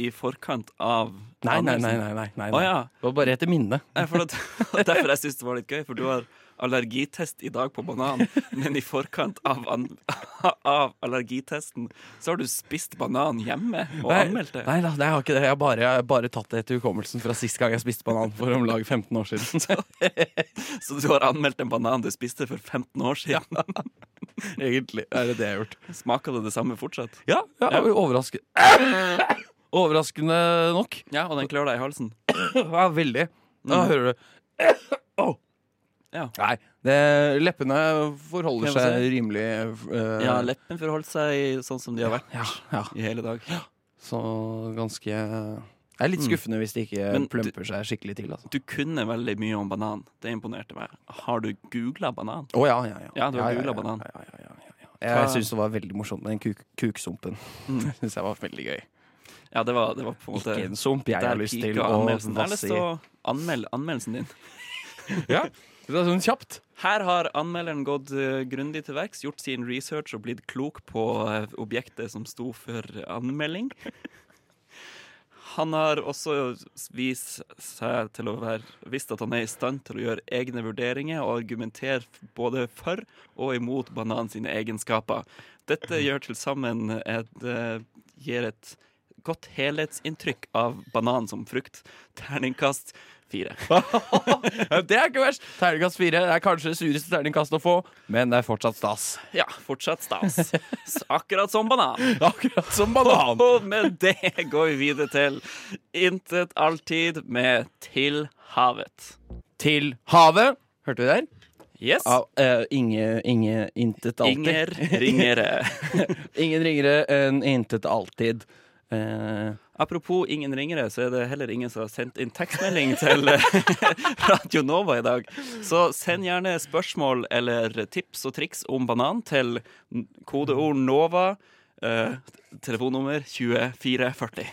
Speaker 3: i forkant av
Speaker 4: Nei, nei, nei.
Speaker 3: anmeldelsen?
Speaker 4: nei, nei, nei.
Speaker 3: Å, ja.
Speaker 4: Det var bare etter minne.
Speaker 3: Nei, for at, derfor jeg syns det var litt gøy, for du har allergitest i dag på banan, men i forkant av, an, av allergitesten så har du spist banan hjemme og anmeldt det.
Speaker 4: Nei da, nei, jeg har ikke det. Jeg har bare, jeg har bare tatt det etter hukommelsen fra sist gang jeg spiste banan for om lag 15 år siden.
Speaker 3: Så du har anmeldt en banan du spiste for 15 år siden.
Speaker 4: Egentlig er det det jeg har gjort.
Speaker 3: Smaker det det samme fortsatt?
Speaker 4: Ja, ja, overraskende Overraskende nok
Speaker 3: Ja, og den klør deg i halsen.
Speaker 4: Ja, veldig Da hører du Åh.
Speaker 3: Ja.
Speaker 4: Nei, det, leppene forholder
Speaker 3: Jeg må
Speaker 4: seg
Speaker 3: se.
Speaker 4: rimelig eh,
Speaker 3: Ja, leppen forholdt seg sånn som de har vært
Speaker 4: ja, ja,
Speaker 3: i hele dag.
Speaker 4: så ganske Det er litt skuffende hvis de ikke
Speaker 3: Men
Speaker 4: plumper seg skikkelig til altså.
Speaker 3: Du kunne veldig mye om banan. Det imponerte meg. Har du googla banan?
Speaker 4: Å ja, ja, ja
Speaker 3: Ja, du har
Speaker 4: ja,
Speaker 3: googlet banan.
Speaker 4: ja, ja, ja, ja, ja. Jeg
Speaker 3: Ta-
Speaker 4: synes det var veldig morsomt med den kuk kuksumpen Det synes jeg var veldig gøy
Speaker 3: Ja, det var, det var på en måte
Speaker 4: Ikke en sump, jeg
Speaker 3: der
Speaker 4: har lyst
Speaker 3: pika
Speaker 4: til å
Speaker 3: anmeldelsen. Jeg har lyst
Speaker 4: vasse i
Speaker 3: til å anmelde anmeldelsen din.
Speaker 4: Ja, Det er sånn kjapt.
Speaker 3: Her har anmelderen gått eh, grundig til verks, gjort sin research og blitt klok på eh, objektet som sto for anmelding. Han har også vist seg til å være visst at han er i stand til å gjøre egne vurderinger og argumentere både for og imot banan sine egenskaper. Dette gjør til sammen et eh, gir et godt helhetsinntrykk av banan som frukt. Terningkast fire.
Speaker 4: Det er ikke verst. Terningkast fire er kanskje det sureste terningkastet å få, men det er fortsatt stas.
Speaker 3: Ja, fortsatt stas. S- Akkurat som banan.
Speaker 4: Akkurat som banan.
Speaker 3: Og med det går vi videre til Intet alltid med Til havet.
Speaker 4: Til havet. Hørte du det der?
Speaker 3: Yes.
Speaker 4: Av eh, Inge, Inge Intet alltid.
Speaker 3: Inger Ringere.
Speaker 4: Ingen ringere enn Intet alltid. Eh,
Speaker 3: Apropos Ingen ringere, så er det heller ingen som har sendt inn tekstmelding til eh, Radio Nova i dag. Så send gjerne spørsmål eller tips og triks om banan til n- kodeord NOVA. eh, telefonnummer 2440.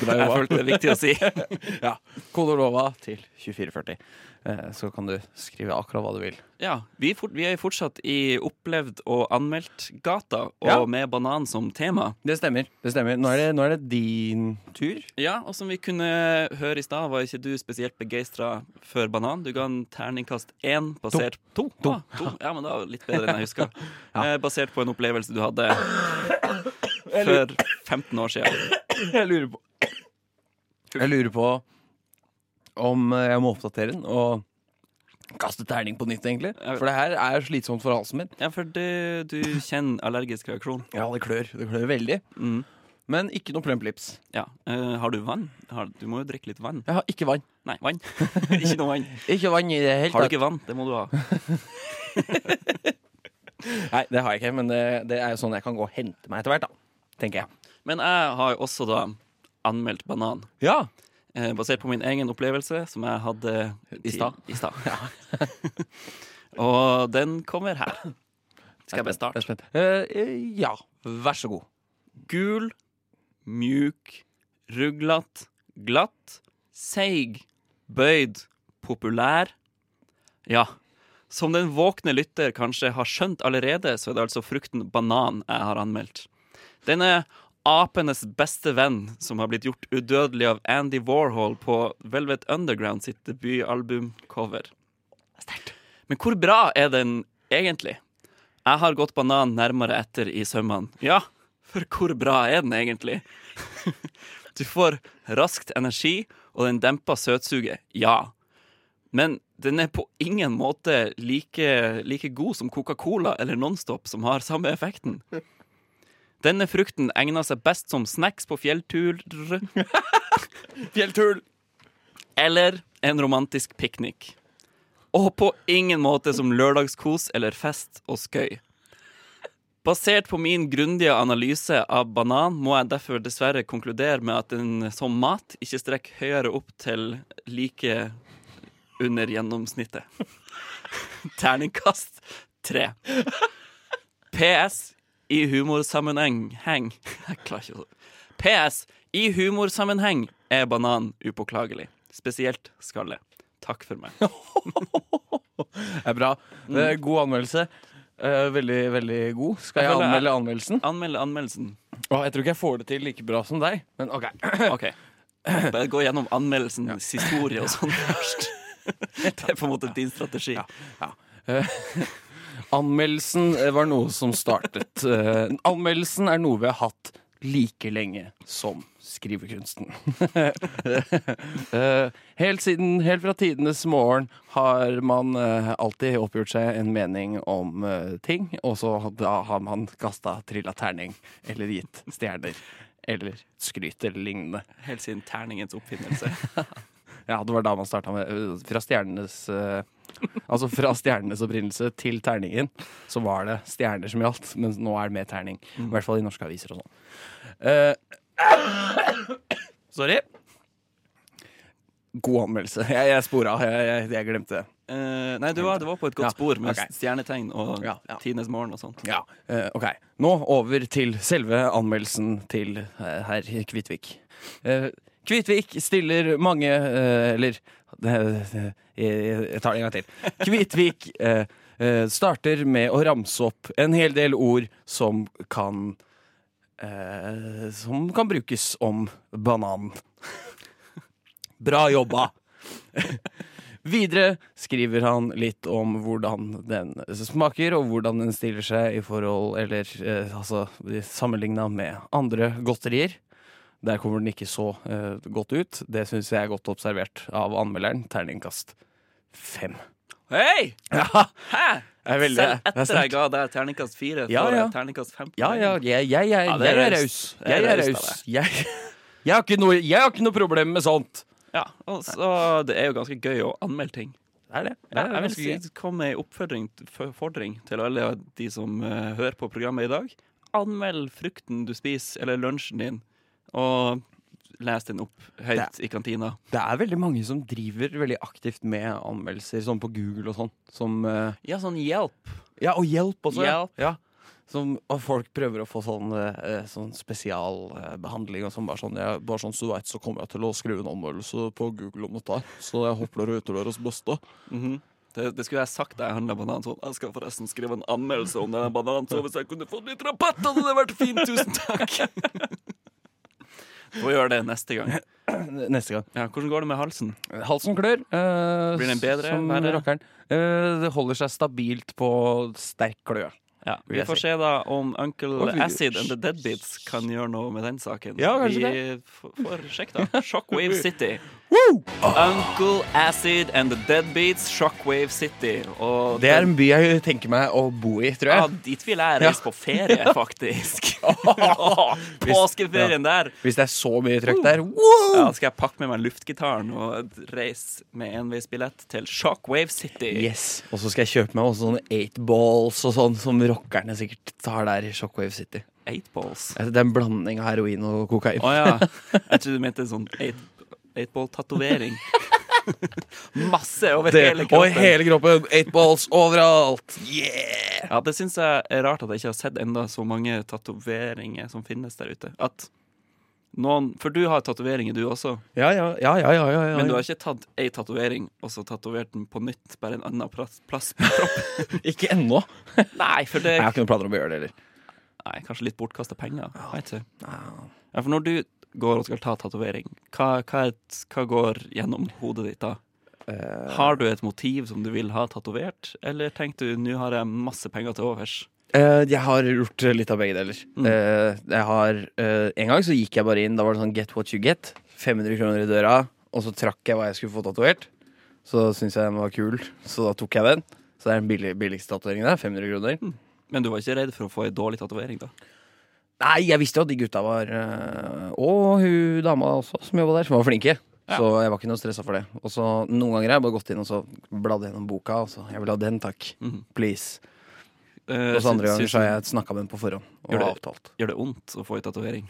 Speaker 4: bra
Speaker 3: Jeg
Speaker 4: jobba.
Speaker 3: følte det er viktig å si.
Speaker 4: ja. Kodolova til 2440. Eh, så kan du skrive akkurat hva du vil.
Speaker 3: Ja, vi, fort, vi er fortsatt i opplevd og anmeldt gata, og
Speaker 4: Ja.
Speaker 3: med banan som tema.
Speaker 4: Det stemmer. det stemmer Nå er det, nå er det din tur.
Speaker 3: Ja, og som vi kunne høre i stad, var ikke du spesielt begeistra for banan. Du ga en terningkast én basert To. Ah, to. Ja, men det var litt bedre enn jeg huska. eh, basert på en opplevelse du hadde for 15 år siden.
Speaker 4: Jeg lurer på Jeg lurer på om eh, jeg må oppdatere den og kaste terning på nytt, egentlig. For det her er slitsomt for halsen min.
Speaker 3: Ja, for det, du kjenner allergisk reaksjon.
Speaker 4: Ja, det klør. Det klør veldig. Men ikke noe plumplips.
Speaker 3: Ja. Eh, har du vann? Har, du må jo drikke litt vann.
Speaker 4: Jeg har ikke vann.
Speaker 3: Nei, vann. ikke noe vann.
Speaker 4: Ikke vann i det hele
Speaker 3: Har du
Speaker 4: tatt.
Speaker 3: ikke vann? Det må du ha.
Speaker 4: Nei, det har jeg ikke, men det, det er jo sånn jeg kan gå og hente meg etter hvert, da. Tenker jeg.
Speaker 3: Men jeg har jo også da anmeldt banan.
Speaker 4: Ja.
Speaker 3: eh, basert på min egen opplevelse som jeg hadde
Speaker 4: I stad.
Speaker 3: I stad. Og den kommer her. Skal jeg bare starte?
Speaker 4: Eh, eh, ja. Vær så god.
Speaker 3: Gul, mjuk, ruglete, glatt, seig, bøyd, populær. Ja. Som den våkne lytter kanskje har skjønt allerede, så er det altså frukten banan jeg har anmeldt. Den er apenes beste venn, som har blitt gjort udødelig av Andy Warhol på Velvet Underground sitt debutalbumcover. Men hvor bra er den egentlig? Jeg har gått banan nærmere etter i sømmene. Ja, for hvor bra er den egentlig? Du får raskt energi, og den demper søtsuget. Ja. Men den er på ingen måte like, like god som Coca-Cola eller Nonstop, som har samme effekten. Denne frukten egner seg best som snacks på fjellturer
Speaker 4: Fjelltull!
Speaker 3: eller en romantisk piknik. Og på ingen måte som lørdagskos eller fest og skøy. Basert på min grundige analyse av banan må jeg derfor dessverre konkludere med at den som mat ikke strekker høyere opp til like under gjennomsnittet. Terningkast tre. PS i humorsammenheng heng. Jeg klarer ikke å PS. I humorsammenheng er banan upåklagelig. Spesielt skallet. Takk for meg.
Speaker 4: Det er bra. Det er god anmeldelse. Eh, veldig, veldig god. Skal jeg
Speaker 3: Jeg føler jeg-
Speaker 4: anmelde anmeldelsen?
Speaker 3: Anmeld anmeldelsen.
Speaker 4: Å, jeg tror ikke jeg får det til like bra som deg, men OK.
Speaker 3: OK. Bare gå gjennom anmeldelsens historie og sånn først. Det er på en måte din strategi.
Speaker 4: Anmeldelsen eh, var noe som startet eh, Anmeldelsen er noe vi har hatt like lenge som skrivekunsten. Eh, helt, siden, helt fra tidenes morgen har man eh, alltid oppgjort seg en mening om eh, ting, og så da har man kasta trilla terning, eller gitt stjerner, eller skryt, eller lignende.
Speaker 3: Helt siden terningens oppfinnelse.
Speaker 4: Ja, det var da man starta med øh, Fra stjernenes øh, Altså fra stjernenes opprinnelse til terningen, så var det stjerner som gjaldt, men nå er det med terning. I hvert fall i norske aviser og sånn. Eh,
Speaker 3: Sorry.
Speaker 4: god anmeldelse. Jeg, jeg spora. Jeg, jeg, jeg glemte det.
Speaker 3: Eh, nei, du var, det var på et
Speaker 4: Ja,
Speaker 3: godt spor med
Speaker 4: ok.
Speaker 3: stjernetegn og
Speaker 4: Ja, ja.
Speaker 3: tidenes morgen og sånt.
Speaker 4: Ja, eh, ok. Nå over til selve anmeldelsen til eh, herr Kvitvik. Eh, Kvitvik stiller mange eh, Eller det- det- jeg, jeg tar det en gang til. Kvitvik eh, eh, starter med å ramse opp en hel del ord som kan eh, Som kan brukes om banan. Bra jobba! Videre skriver han litt om hvordan den smaker, og hvordan den stiller seg i forhold Eller eh, altså sammenligna med andre godterier. Der kommer den ikke så eh, godt ut. Det syns jeg er godt observert av anmelderen. Terningkast fem.
Speaker 3: Hei!
Speaker 4: Ja,
Speaker 3: Hæ?
Speaker 4: jeg er veldig-
Speaker 3: Selv
Speaker 4: det er
Speaker 3: etter jeg
Speaker 4: sterkt.
Speaker 3: ga deg terningkast fire,
Speaker 4: Ja,
Speaker 3: får
Speaker 4: ja.
Speaker 3: jeg terningkast fem. på
Speaker 4: ja, ja
Speaker 3: veien.
Speaker 4: jeg, jeg, jeg,
Speaker 3: Ja, det
Speaker 4: jeg
Speaker 3: er
Speaker 4: er raus.
Speaker 3: raust. Det er
Speaker 4: Jeg er
Speaker 3: raust av
Speaker 4: raus. Jeg, jeg, har ikke noe, jeg har ikke noe problem med sånt.
Speaker 3: Ja, og så Det er jo ganske gøy å anmelde ting.
Speaker 4: Det er det.
Speaker 3: Ja, jeg vil si, kom med en oppfordring f- fordring til alle de som eh, hører på programmet i dag. Anmeld frukten du spiser, eller lunsjen din, og les den opp høyt i kantina.
Speaker 4: Det er veldig mange som driver veldig aktivt med anmeldelser, sånn på Google og sånn. Som, eh,
Speaker 3: Ja, sånn hjelp.
Speaker 4: ja, og hjelp også. ja.
Speaker 3: Hjelp.
Speaker 4: Ja. Som, og folk prøver å få sånn, eh, sånn spesialbehandling. Og sånn, bare sånn, ja, bare sånn, så du vet, så kommer jeg til å skrive en anmeldelse på Google om dette. her, Så jeg håper dere utlører oss beste.
Speaker 3: Det, det skulle jeg sagt da jeg handla banan. Sånn. Jeg skal forresten skrive en anmeldelse om denne bananen, så hvis jeg kunne fått litt rabatt, hadde det vært fint. Tusen takk. Få gjøre det neste gang.
Speaker 4: Neste gang.
Speaker 3: Ja, hvordan går det med halsen?
Speaker 4: Halsen klør. eh,
Speaker 3: Blir den bedre,
Speaker 4: Som
Speaker 3: verre?
Speaker 4: rockeren. Eh, det holder seg stabilt på sterk klø.
Speaker 3: Ja, vi
Speaker 4: vil jeg
Speaker 3: får
Speaker 4: si.
Speaker 3: se da om Uncle
Speaker 4: Og vi-
Speaker 3: Acid and The Deadbeats kan gjøre noe med den saken.
Speaker 4: Ja, kanskje
Speaker 3: vi
Speaker 4: det.
Speaker 3: f- får sjekk, da. Shockwave City. Uncle Acid and The Deadbeats, Shockwave City. Og
Speaker 4: Det er en by jeg tenker meg å bo i, tror
Speaker 3: ja,
Speaker 4: jeg.
Speaker 3: dit vil jeg reise på ferie, faktisk. Åh, Påskeferien der.
Speaker 4: Hvis det er så mye trøkk
Speaker 3: Ja,
Speaker 4: der. Wow!
Speaker 3: skal jeg pakke med meg luftgitaren og reise med enveisbillett til Shockwave City.
Speaker 4: Yes. Og så skal jeg kjøpe meg også sånne eight balls og sånn som rockerne sikkert tar der i Shockwave City. Altså,
Speaker 3: Eight balls.
Speaker 4: Det er en blanding av heroin og kokain.
Speaker 3: Å ja. Jeg trodde du mente sånn eight- eightball-tatovering. Masse over
Speaker 4: det,
Speaker 3: hele kroppen.
Speaker 4: Og hele kroppen. Eight balls overalt. Yeah!
Speaker 3: Ja, Det syns jeg er rart at jeg ikke har sett enda så mange tatoveringer som finnes der ute. At noen, For du har tatoveringer, du også.
Speaker 4: Ja, ja, ja. ja, ja, ja, ja.
Speaker 3: Men du har ikke tatt ei tatovering og så tatovert den på nytt, bare en annen plass, plass på kroppen?
Speaker 4: ikke ennå.
Speaker 3: Nei, for det
Speaker 4: Jeg har ikke noen planer om å gjøre det heller.
Speaker 3: Nei, kanskje litt bortkasta penger. Jeg vet ikke. Ja, for når du går og skal ta tatovering, hva, hva, er et- hva går gjennom hodet ditt da?
Speaker 4: Eh.
Speaker 3: Har du et motiv som du vil ha tatovert, eller tenkte du nå har jeg masse penger til overs?
Speaker 4: Eh, jeg har gjort litt av begge deler. Eh, jeg har, eh, en gang så gikk jeg bare inn. Da var det sånn get what you get. 500 kroner i døra, og så trakk jeg hva jeg skulle få tatovert. Så syntes jeg den var kul, så da tok jeg den. Så det er den billig, billigste tatoveringen der. 500 kroner.
Speaker 3: Men du var ikke redd for å få ei dårlig tatovering, da?
Speaker 4: Nei, jeg visste jo at de gutta var øh, Og hun dama også, som jobba der, som var flinke. Så jeg var ikke noe stressa for det. Og så Noen ganger har jeg bare gått inn og så bladd gjennom boka. Og så, jeg vil ha den, takk. Please.
Speaker 3: Eh,
Speaker 4: Og så andre
Speaker 3: syns-
Speaker 4: ganger
Speaker 3: Mhm. syns
Speaker 4: så har jeg snakka med dem på forhånd. Og
Speaker 3: Gjør det.
Speaker 4: avtalt.
Speaker 3: Gjør det vondt å få ei tatovering?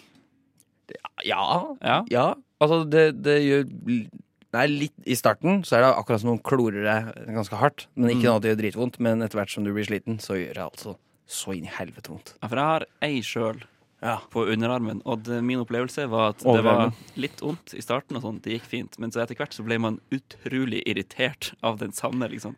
Speaker 4: Ja.
Speaker 3: Ja.
Speaker 4: ja. Altså, det, det gjør Nei, litt I starten så er det akkurat som om de klorer deg ganske hardt. Men
Speaker 3: Mhm.
Speaker 4: ikke noe at det gjør dritvondt. Men etter hvert som du blir sliten, så gjør det altså så inn i helvete vondt.
Speaker 3: Ja, for jeg har ei sjøl
Speaker 4: Ja.
Speaker 3: på underarmen, og det, min opplevelse var at det var
Speaker 4: Overarmen.
Speaker 3: litt vondt i starten, og sånn, det gikk fint, men så etter hvert så ble man utrolig irritert av den samme liksom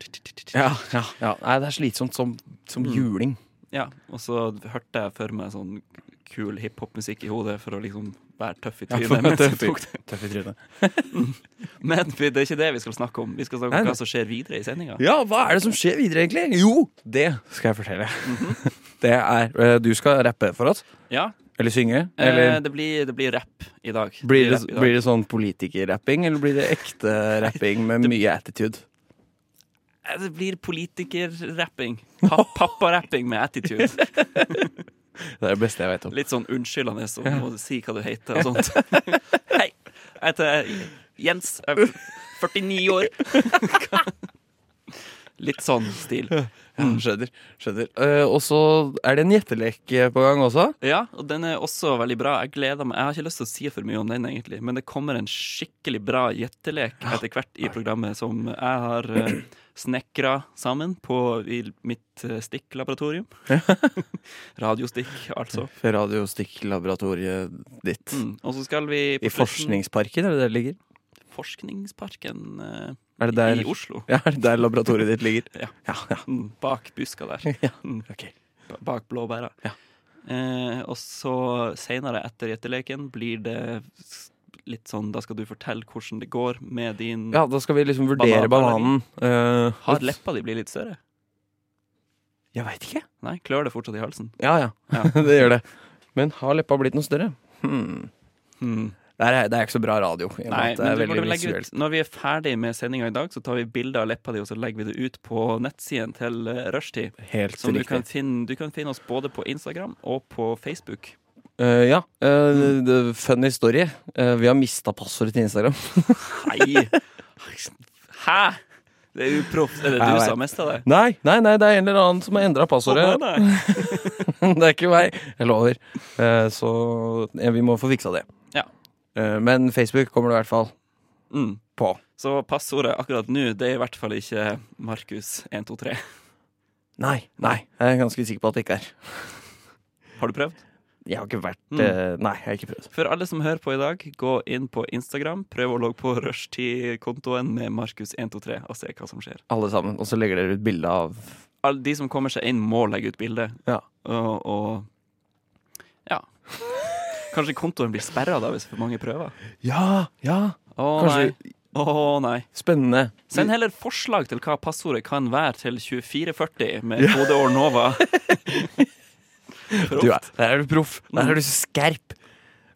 Speaker 4: Ja, ja, ja. Nei, det er slitsomt som, som
Speaker 3: Mhm.
Speaker 4: juling.
Speaker 3: Ja, og så hørte jeg for meg sånn kul hiphop-musikk i hodet for å liksom være tøff i
Speaker 4: Ja,
Speaker 3: trynet.
Speaker 4: for å være
Speaker 3: mens jeg
Speaker 4: tøff i-
Speaker 3: tok det.
Speaker 4: Tøff i trynet.
Speaker 3: men det er ikke det vi skal snakke om. Vi skal snakke
Speaker 4: Nei,
Speaker 3: om
Speaker 4: nei.
Speaker 3: hva som skjer videre i sendinga.
Speaker 4: Ja, hva er det som skjer videre, egentlig? Jo, det skal jeg fortelle. Det er eh, Du skal rappe for oss.
Speaker 3: Ja,
Speaker 4: Eller synge.
Speaker 3: eh,
Speaker 4: Eller
Speaker 3: det, blir, det blir rap i dag.
Speaker 4: blir, det,
Speaker 3: rap i dag.
Speaker 4: blir det sånn politikerrapping, eller blir det ekte rapping med mye attitude?
Speaker 3: Eh, det blir politikerrapping. Pa Papparapping med attitude.
Speaker 4: Det er det beste jeg vet om.
Speaker 3: Litt sånn unnskyldende og må du si hva du heter og sånt. Hei, jeg heter Jens. jeg er 49 år. Litt sånn stil.
Speaker 4: Mm, skjønner. skjønner. Eh, og så er det en gjettelek eh, på gang også.
Speaker 3: Ja, og den er også veldig bra. Jeg gleder meg. Jeg har ikke lyst til å si for mye om den, egentlig, men det kommer en skikkelig bra gjettelek etter hvert i programmet som jeg har eh, snekra sammen på, i mitt eh, stikklaboratorium. Radiostikk, altså.
Speaker 4: Radiostikklaboratoriet ditt.
Speaker 3: Mm. Og så skal vi på
Speaker 4: I
Speaker 3: slutten-
Speaker 4: Forskningsparken, er det der det ligger?
Speaker 3: Forskningsparken eh,
Speaker 4: Er det der,
Speaker 3: i Oslo.
Speaker 4: Ja, er det der laboratoriet ditt ligger?
Speaker 3: Ja.
Speaker 4: ja, ja.
Speaker 3: Mm, bak buska der.
Speaker 4: Ja,
Speaker 3: Mm.
Speaker 4: ok.
Speaker 3: Ba- Bak blåbæra.
Speaker 4: Ja.
Speaker 3: Eh, og så seinere, etter gjetteleken, blir det s- litt sånn Da skal du fortelle hvordan det går med din
Speaker 4: Ja, da skal vi liksom vurdere bananen.
Speaker 3: Banan-
Speaker 4: Eh,
Speaker 3: Har leppa di blitt litt større?
Speaker 4: Jeg veit ikke.
Speaker 3: Nei, klør det fortsatt i halsen?
Speaker 4: Ja, ja.
Speaker 3: Ja.
Speaker 4: det gjør det. Men har leppa blitt noe større? Hmm.
Speaker 3: Hmm.
Speaker 4: Det, er, det er ikke så bra radio. i og med
Speaker 3: Nei,
Speaker 4: at det
Speaker 3: men
Speaker 4: er
Speaker 3: du burde
Speaker 4: veldig
Speaker 3: vel legge
Speaker 4: visuelt.
Speaker 3: ut Når vi er ferdig med sendinga i dag, så tar vi bilde av leppa di, og så legger vi det ut på nettsiden til eh, Rushtid.
Speaker 4: Helt
Speaker 3: Som du
Speaker 4: riktig.
Speaker 3: kan, finne, du kan finne oss både på Instagram og på Facebook.
Speaker 4: Eh, ja. eh,
Speaker 3: Mm.
Speaker 4: the fun story. Eh, vi har mista passordet til Instagram.
Speaker 3: Nei! Hæ?! Det er uproft. Er det
Speaker 4: Jeg
Speaker 3: du
Speaker 4: vet.
Speaker 3: som har mista det?
Speaker 4: Nei, nei, nei, det er en eller annen som har endra passordet.
Speaker 3: Å, nei, nei.
Speaker 4: det er ikke meg. Jeg lover. Eh, så ja, vi må få fiksa det.
Speaker 3: Ja.
Speaker 4: Eh, men Facebook kommer det i hvert fall
Speaker 3: Mm.
Speaker 4: på.
Speaker 3: Så passordet akkurat nå, det er i hvert fall ikke Markus123.
Speaker 4: Nei, nei. Jeg er ganske sikker på at det ikke er.
Speaker 3: Har du prøvd?
Speaker 4: Jeg har ikke vært
Speaker 3: Mm.
Speaker 4: eh, Nei, jeg har ikke prøvd.
Speaker 3: For alle som hører på i dag, gå inn på Instagram, prøv å logge på rushtid-kontoen med Markus123 og se hva som skjer.
Speaker 4: Alle sammen. Og så legger dere ut bilde av
Speaker 3: Alle de som kommer seg inn, må legge ut bilde.
Speaker 4: Ja.
Speaker 3: Og, og ja. Kanskje kontoen blir sperra da hvis for mange prøver.
Speaker 4: Ja, ja.
Speaker 3: Å nei.
Speaker 4: Kanskje-
Speaker 3: Å nei.
Speaker 4: Spennende.
Speaker 3: Send heller forslag til hva passordet kan være til 2440 med kodeord Nova.
Speaker 4: Du er, der er du proff. Der er du så skerp.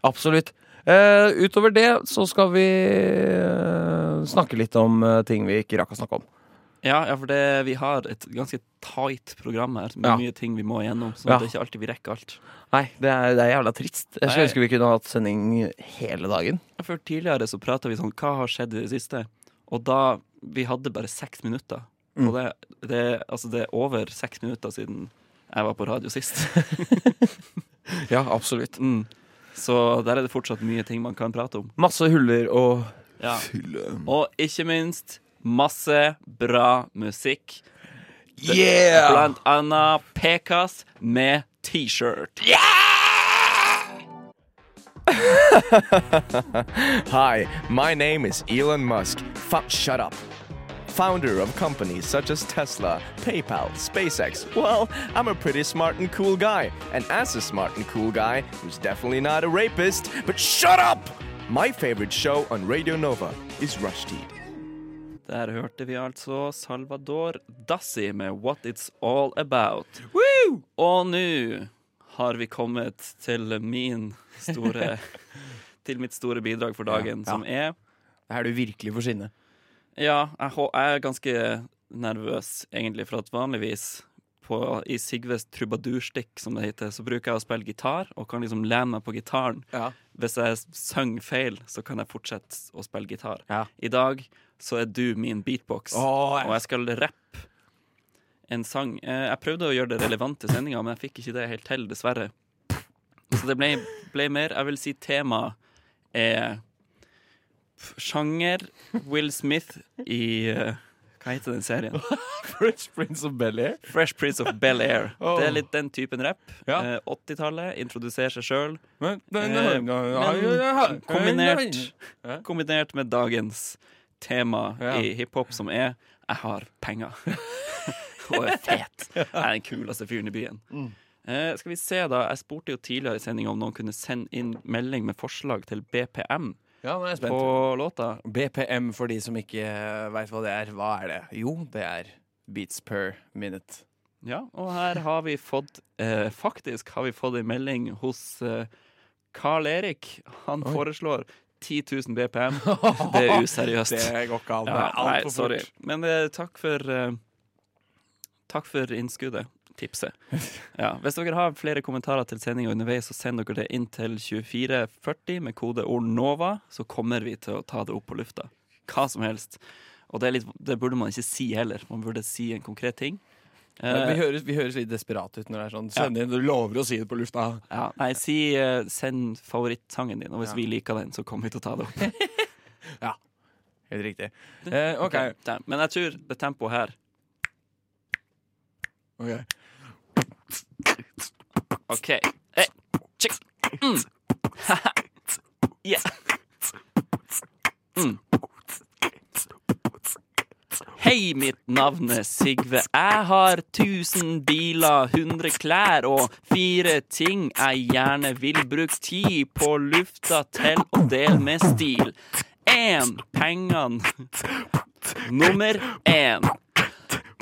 Speaker 4: Absolutt. Eh, utover det så skal vi eh, snakke litt om eh, ting vi ikke rakk å snakke om.
Speaker 3: Ja, ja, for det, vi har et ganske tight program her med
Speaker 4: Ja.
Speaker 3: mye ting vi må igjennom. Så
Speaker 4: Ja.
Speaker 3: det er ikke alltid vi rekker alt.
Speaker 4: Nei, det er, det er jævla trist. Jeg
Speaker 3: Nei.
Speaker 4: skulle ønske vi kunne hatt sending hele dagen.
Speaker 3: For tidligere så prata vi sånn Hva har skjedd i det siste? Og da Vi hadde bare seks minutter.
Speaker 4: Mm.
Speaker 3: Og det, det, altså det er over seks minutter siden jeg var på radio sist.
Speaker 4: Ja, absolutt.
Speaker 3: Mm. Så der er det fortsatt mye ting man kan prate om.
Speaker 4: Masse huller og
Speaker 3: Ja.
Speaker 4: Fylle.
Speaker 3: Og ikke minst masse bra musikk.
Speaker 4: Yeah!
Speaker 3: Blant annet Pekas med T-shirt.
Speaker 5: Hi, my name is Elon Musk. Fu shut up. Founder of companies such as Tesla, PayPal, SpaceX. Well, I'm a pretty smart and cool guy. And as a smart and cool guy, who's definitely not a rapist, but shut up! My favorite show on Radio Nova is Rush Teed.
Speaker 3: Der hørte vi altså Salvador Dassi med What It's All About. Og nå har vi kommet til min store Til mitt store bidrag for dagen, som er
Speaker 4: Er du virkelig for sinne?
Speaker 3: Ja, jeg, hå- jeg er ganske nervøs, egentlig, for at vanligvis på, i Sigves trubadurstikk, som det heter, så bruker jeg å spille gitar, og kan liksom lene meg på gitaren.
Speaker 4: Ja.
Speaker 3: Hvis jeg s- synger feil, så kan jeg fortsette å spille gitar.
Speaker 4: Ja.
Speaker 3: I dag så er du min beatbox,
Speaker 4: Åh, jeg-
Speaker 3: og jeg skal rappe en sang. Eh, Jeg prøvde å gjøre det relevant til sendinga, men jeg fikk ikke det helt til, dessverre. Så det ble, ble mer Jeg vil si temaet er f- sjanger Will Smith i eh, Hva heter den serien?
Speaker 4: Prince, Prince of Bel-Air.
Speaker 3: Fresh Prince of Bel-Air.
Speaker 4: Åh.
Speaker 3: Det er litt den typen rapp.
Speaker 4: Ja.
Speaker 3: Eh, 80-tallet, introduserer seg sjøl. Eh,
Speaker 4: Men
Speaker 3: Men kombinert, kombinert med dagens tema
Speaker 4: Ja.
Speaker 3: i hiphop, som er 'jeg har penger' og er fet. Jeg er den kuleste fyren i byen. Eh, skal vi se da, Jeg spurte jo tidligere i sendinga om noen kunne sende inn melding med forslag til BPM
Speaker 4: Ja, nå er jeg spent.
Speaker 3: på låta.
Speaker 4: BPM, for de som ikke veit hva det er, hva er det? Jo, det er beats per minute.
Speaker 3: Ja, og her har vi fått eh, Faktisk har vi fått en melding hos eh, Carl Erik. Han foreslår 10 000 BPM. Det er useriøst.
Speaker 4: går ikke an.
Speaker 3: Ja, nei, sorry. Men eh, takk for eh, Takk for innskuddet. Tipset. Ja, hvis dere har flere kommentarer til sendinga underveis, så send dere det inn til 2440 med kode ORNOVA, så kommer vi til å ta det opp på lufta. Hva som helst. Og det, er litt, det burde man ikke si heller. Man burde si en konkret ting.
Speaker 4: vi,
Speaker 3: Eh,
Speaker 4: høres, vi høres litt desperate ut når det er sånn. Send inn, du lover å si det på lufta.
Speaker 3: ja, nei, si eh, send favorittsangen din, og hvis
Speaker 4: Ja.
Speaker 3: vi liker den, så kommer vi til å ta det opp.
Speaker 4: Ja. Helt riktig. Eh, OK.
Speaker 3: Damn. Men jeg tror det tempoet her
Speaker 4: Ok.
Speaker 3: OK. Eh, check. Mm. Haha. yeah. Mm. Hei, mitt navn er Sigve. Jeg har 1000 biler, 100 klær og fire ting jeg gjerne vil bruke tid på lufta til å dele med stil. Én pengene Nummer én.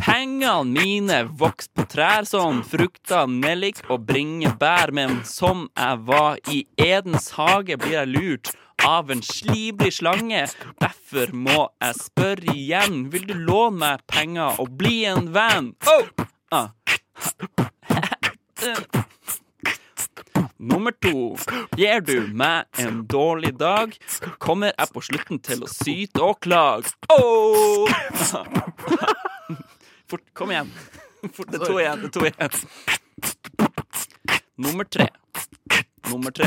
Speaker 3: Pengene mine vokste på trær som frukter, nellik og bringebær, men som jeg var i Edens hage, blir jeg lurt av en slibrig slange. Derfor må jeg spørre igjen, vil du låne meg penger og bli en venn? Oh! Ah. Nummer to. Gir du meg en dårlig dag, kommer jeg på slutten til å syte og klage. Oh! Fort, kom igjen. Fort, det er to igjen. Det er to igjen. Nummer tre. Nummer tre.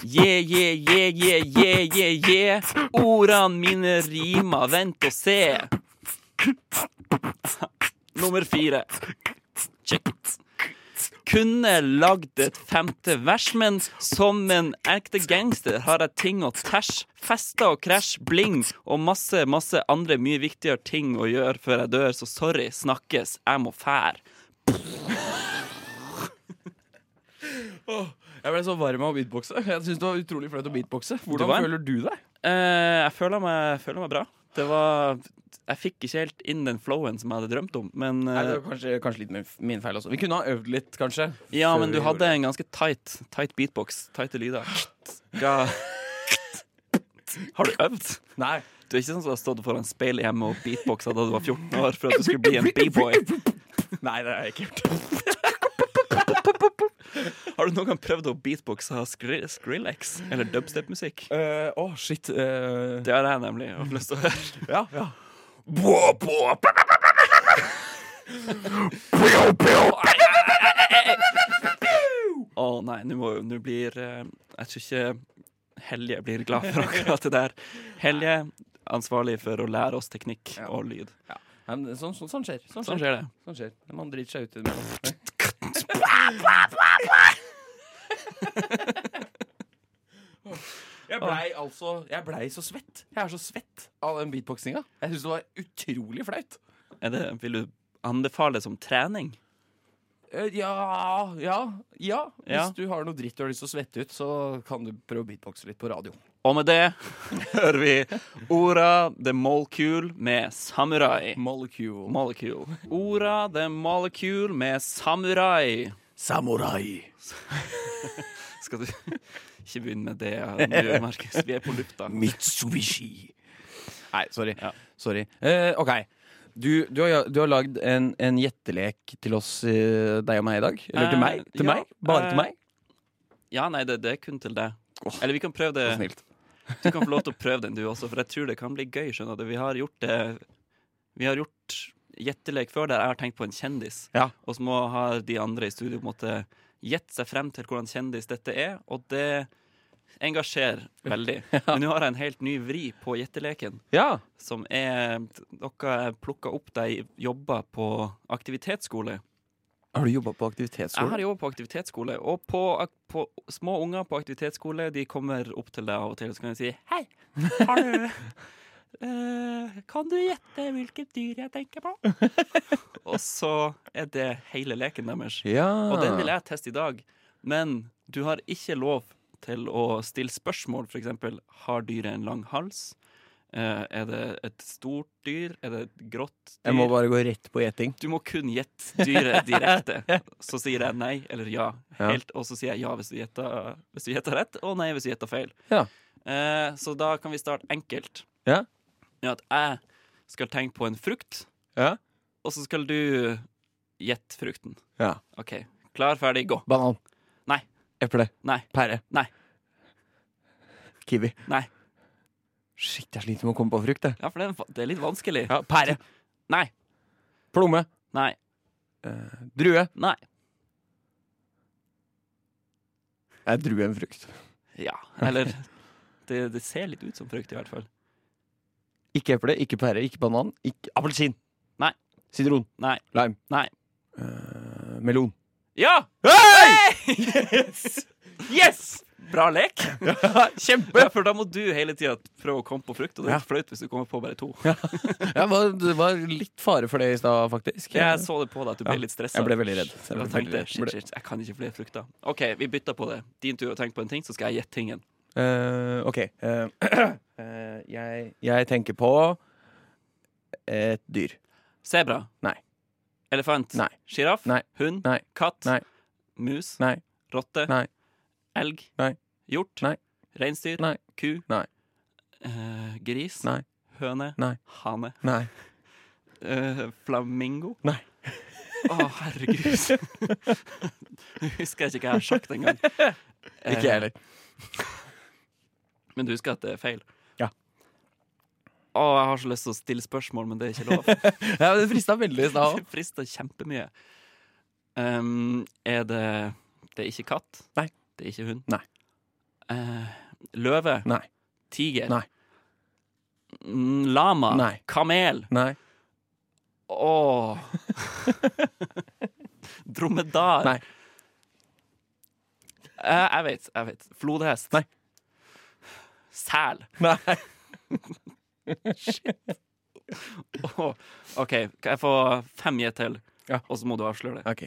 Speaker 3: Yeah, yeah, yeah, yeah, yeah, yeah, yeah. Ordene mine rimer, vent og se. Nummer fire. Check it kunne lagd et femte vers, men som en ekte gangster har jeg ting å tæsj. Fester og krasj, bling og masse, masse andre mye viktigere ting å gjøre før jeg dør, så sorry, snakkes, jeg må fær.
Speaker 4: Jeg ble så varm av å beatboxe. Jeg synes det var utrolig flaut å beatboxe.
Speaker 3: Du
Speaker 4: Hvordan
Speaker 3: var en-
Speaker 4: føler du deg?
Speaker 3: Eh, jeg føler meg, jeg føler meg bra. Det var Jeg fikk ikke helt inn den flowen som jeg hadde drømt om, men eh,
Speaker 4: Nei, det var kanskje, kanskje litt min, min feil også. Vi kunne ha øvd litt, kanskje.
Speaker 3: Ja,
Speaker 4: før
Speaker 3: men du
Speaker 4: vi
Speaker 3: hadde
Speaker 4: gjorde
Speaker 3: en ganske tight, tight beatbox. Tighte lyder. Ga Har du øvd?
Speaker 4: det. Nei.
Speaker 3: Du er ikke sånn som har stått foran speil hjemme og beatboxa da du var 14 år for at du skulle bli en b-boy.
Speaker 4: Nei, det er jeg ikke gjort.
Speaker 3: Har du noen gang prøvd å beatboxe skri Skrillex eller dubstep-musikk?
Speaker 4: Å, shit. eh,
Speaker 3: Det har jeg nemlig hatt lyst til å høre.
Speaker 4: ja, ja.
Speaker 3: Å nei, nå må- nå blir eh, Jeg tror ikke Helje blir glad for akkurat det der. Helje ansvarlig for å lære oss teknikk og lyd.
Speaker 4: Nei, men Sånn, sånn, sånn skjer. Sånn
Speaker 3: Sånn
Speaker 4: skjer.
Speaker 3: skjer det.
Speaker 4: Sånn skjer. Man driter seg ut innimellom. Jeg blei altså Jeg blei så svett. Jeg er så svett av den beatboxinga. Jeg syns det var utrolig flaut.
Speaker 3: Er det vil du anbefale det som trening?
Speaker 4: Eh, Ja, ja, ja. Hvis
Speaker 3: Ja.
Speaker 4: du har noe dritt du har lyst til å svette ut, så kan du prøve å beatboxe litt på radio.
Speaker 3: Og med det hører vi Ora The Molecule med Samurai.
Speaker 4: Molecule.
Speaker 3: Molecule. Ora The Molecule med Samurai.
Speaker 4: Samurai.
Speaker 3: Skal du ikke begynne med det nå, Markus? Vi er på lufta.
Speaker 4: Mitsubishi. Nei, sorry.
Speaker 3: Ja.
Speaker 4: sorry. Eh, ok. Du, du, har, du har lagd en, en gjettelek til oss, eh, deg og meg, i dag. Eller til
Speaker 3: Eh,
Speaker 4: meg. Til
Speaker 3: ja,
Speaker 4: meg. Bare
Speaker 3: eh,
Speaker 4: til meg.
Speaker 3: Ja, nei, det, det er kun til deg. Eller vi kan prøve
Speaker 4: Så
Speaker 3: det.
Speaker 4: snilt.
Speaker 3: Du kan få lov til å prøve den, du også, for jeg tror det kan bli gøy. skjønner du. Vi har gjort det Vi har gjort gjettelek før der jeg har tenkt på en kjendis,
Speaker 4: Ja.
Speaker 3: og så må har de andre i studio måtte gjette seg frem til hvordan kjendis dette er, og det engasjerer veldig. Men nå har jeg en helt ny vri på gjetteleken.
Speaker 4: ja.
Speaker 3: som er Dere plukka opp de jobber på aktivitetsskole.
Speaker 4: Har du jobba på
Speaker 3: Jeg har
Speaker 4: aktivitetsskole?
Speaker 3: jobba på aktivitetsskole, og på, ak- på små unger på aktivitetsskole De kommer opp til deg av og til og så kan de si Hei, har du eh, Kan du gjette hvilket dyr jeg tenker på? og så er det hele leken deres.
Speaker 4: Ja.
Speaker 3: Og den vil jeg teste i dag. Men du har ikke lov til å stille spørsmål, f.eks.: Har dyret en lang hals? Eh, Er det et stort dyr? Er det et grått dyr?
Speaker 4: Jeg må bare gå rett på gjeting.
Speaker 3: Du må kun gjette dyret direkte. Så sier jeg nei eller ja.
Speaker 4: Ja.
Speaker 3: Helt, og så sier jeg ja hvis du gjetter, hvis du gjetter rett, og nei hvis du gjetter feil.
Speaker 4: Ja.
Speaker 3: Eh, Så da kan vi starte enkelt.
Speaker 4: Ja.
Speaker 3: Med at jeg skal tenke på en frukt,
Speaker 4: Ja.
Speaker 3: og så skal du gjette frukten.
Speaker 4: ja.
Speaker 3: OK. Klar, ferdig, gå.
Speaker 4: Banan.
Speaker 3: Nei.
Speaker 4: Eple.
Speaker 3: Nei.
Speaker 4: Pære.
Speaker 3: Nei.
Speaker 4: Kiwi.
Speaker 3: Nei.
Speaker 4: Shit, jeg sliter med å komme på frukt, jeg.
Speaker 3: Ja, for det er, va- det er litt vanskelig.
Speaker 4: Ja, pære.
Speaker 3: Nei.
Speaker 4: Plomme.
Speaker 3: Nei. Eh,
Speaker 4: Drue.
Speaker 3: Nei.
Speaker 4: Er drue en frukt?
Speaker 3: Ja. Eller det, det ser litt ut som frukt, i hvert fall.
Speaker 4: Ikke eple, ikke pære, ikke banan, ikke appelsin.
Speaker 3: Nei.
Speaker 4: Sitron.
Speaker 3: Nei.
Speaker 4: Lime.
Speaker 3: Nei.
Speaker 4: Eh, melon.
Speaker 3: Ja! Yes! Bra lek. Kjempe. For da må du hele tida prøve å komme på frukt, og det er litt flaut hvis du kommer på bare to.
Speaker 4: Ja, var, det var litt fare for det i stad, faktisk.
Speaker 3: Jeg så det på deg at du ble litt stressa.
Speaker 4: Jeg ble veldig redd. Jeg ble
Speaker 3: Jeg tenkte,
Speaker 4: veldig
Speaker 3: shit,
Speaker 4: redd.
Speaker 3: shit, jeg kan ikke flere frukter. OK, vi bytter på det. Din tur å tenke på en ting, så skal jeg gjette tingen.
Speaker 4: Eh, OK. eh, eh, jeg, jeg tenker på et dyr.
Speaker 3: Sebra.
Speaker 4: Nei.
Speaker 3: Elefant.
Speaker 4: Nei.
Speaker 3: Sjiraff.
Speaker 4: Nei.
Speaker 3: Hund.
Speaker 4: Nei.
Speaker 3: Katt.
Speaker 4: Nei.
Speaker 3: Mus.
Speaker 4: Nei.
Speaker 3: Rotte.
Speaker 4: Nei.
Speaker 3: Elg.
Speaker 4: Nei.
Speaker 3: Hjort.
Speaker 4: Nei.
Speaker 3: Reinsdyr.
Speaker 4: Nei.
Speaker 3: Ku.
Speaker 4: Nei.
Speaker 3: Eh, gris.
Speaker 4: Nei.
Speaker 3: Høne.
Speaker 4: Nei.
Speaker 3: Hane.
Speaker 4: Nei.
Speaker 3: Eh, flamingo.
Speaker 4: Nei.
Speaker 3: Å, herregud. Nå husker jeg ikke hva jeg har sagt engang.
Speaker 4: Ikke jeg heller.
Speaker 3: Eh, Men du husker at det er feil?
Speaker 4: Ja.
Speaker 3: Å, jeg har så lyst til å stille spørsmål, men det er ikke lov.
Speaker 4: Ja, det frista veldig i stad òg.
Speaker 3: Det frister kjempemye. Ehm, er det Det er ikke katt.
Speaker 4: Nei.
Speaker 3: Det er ikke hund.
Speaker 4: Nei.
Speaker 3: Eh, løve.
Speaker 4: Nei.
Speaker 3: Tiger.
Speaker 4: Nei.
Speaker 3: Mm, Lama.
Speaker 4: Nei.
Speaker 3: Kamel.
Speaker 4: Nei.
Speaker 3: Åh. Dromedar.
Speaker 4: Nei.
Speaker 3: Eh, jeg vet, jeg vet. Flodhest.
Speaker 4: Nei.
Speaker 3: Sel.
Speaker 4: Nei.
Speaker 3: Åh, OK, kan jeg få fem gjett til?
Speaker 4: Ja.
Speaker 3: Og så må du avsløre det.
Speaker 4: OK.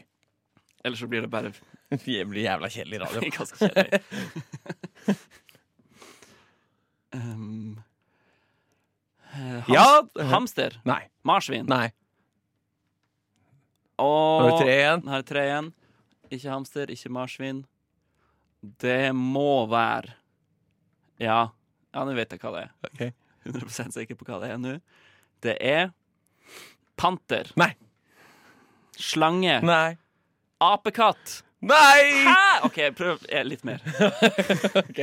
Speaker 3: Ellers så blir det bare
Speaker 4: Det blir jævla kjedelig
Speaker 3: Det
Speaker 4: radio.
Speaker 3: er ganske kjedelig. um, eh, hams
Speaker 4: Ja, eh,
Speaker 3: Hamster.
Speaker 4: Nei.
Speaker 3: Marsvin.
Speaker 4: Nei.
Speaker 3: Og
Speaker 4: Har du tre igjen?
Speaker 3: Her er tre igjen. Ikke hamster, ikke marsvin. Det må være Ja, ja nå vet jeg hva det er.
Speaker 4: Ok.
Speaker 3: 100 sikker på hva det er nå. Det er panter.
Speaker 4: Nei.
Speaker 3: Slange.
Speaker 4: Nei.
Speaker 3: Apekatt.
Speaker 4: Nei!
Speaker 3: Hæ?! OK, prøv eh, litt mer.
Speaker 4: Ok,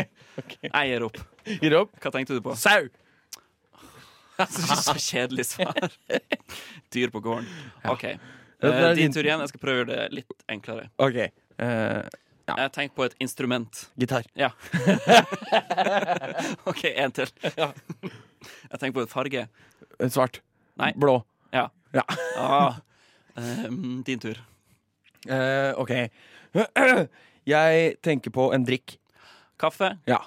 Speaker 3: Jeg gir opp.
Speaker 4: Gir opp.
Speaker 3: Hva tenkte du på?
Speaker 4: Sau.
Speaker 3: Så kjedelig svar. Dyr på gården. OK.
Speaker 4: Det
Speaker 3: Eh,
Speaker 4: er
Speaker 3: din
Speaker 4: din-
Speaker 3: tur igjen. Jeg skal prøve å gjøre det litt enklere.
Speaker 4: OK. eh,
Speaker 3: Jeg tenker på et instrument.
Speaker 4: gitar.
Speaker 3: Ja. OK, en til. Jeg tenker på et farge.
Speaker 4: Eh, Svart.
Speaker 3: Nei.
Speaker 4: Blå.
Speaker 3: Ja.
Speaker 4: Ja.
Speaker 3: Ah. Ehm, din tur.
Speaker 4: Eh, OK. Jeg tenker på en drikk.
Speaker 3: Kaffe.
Speaker 4: Ja.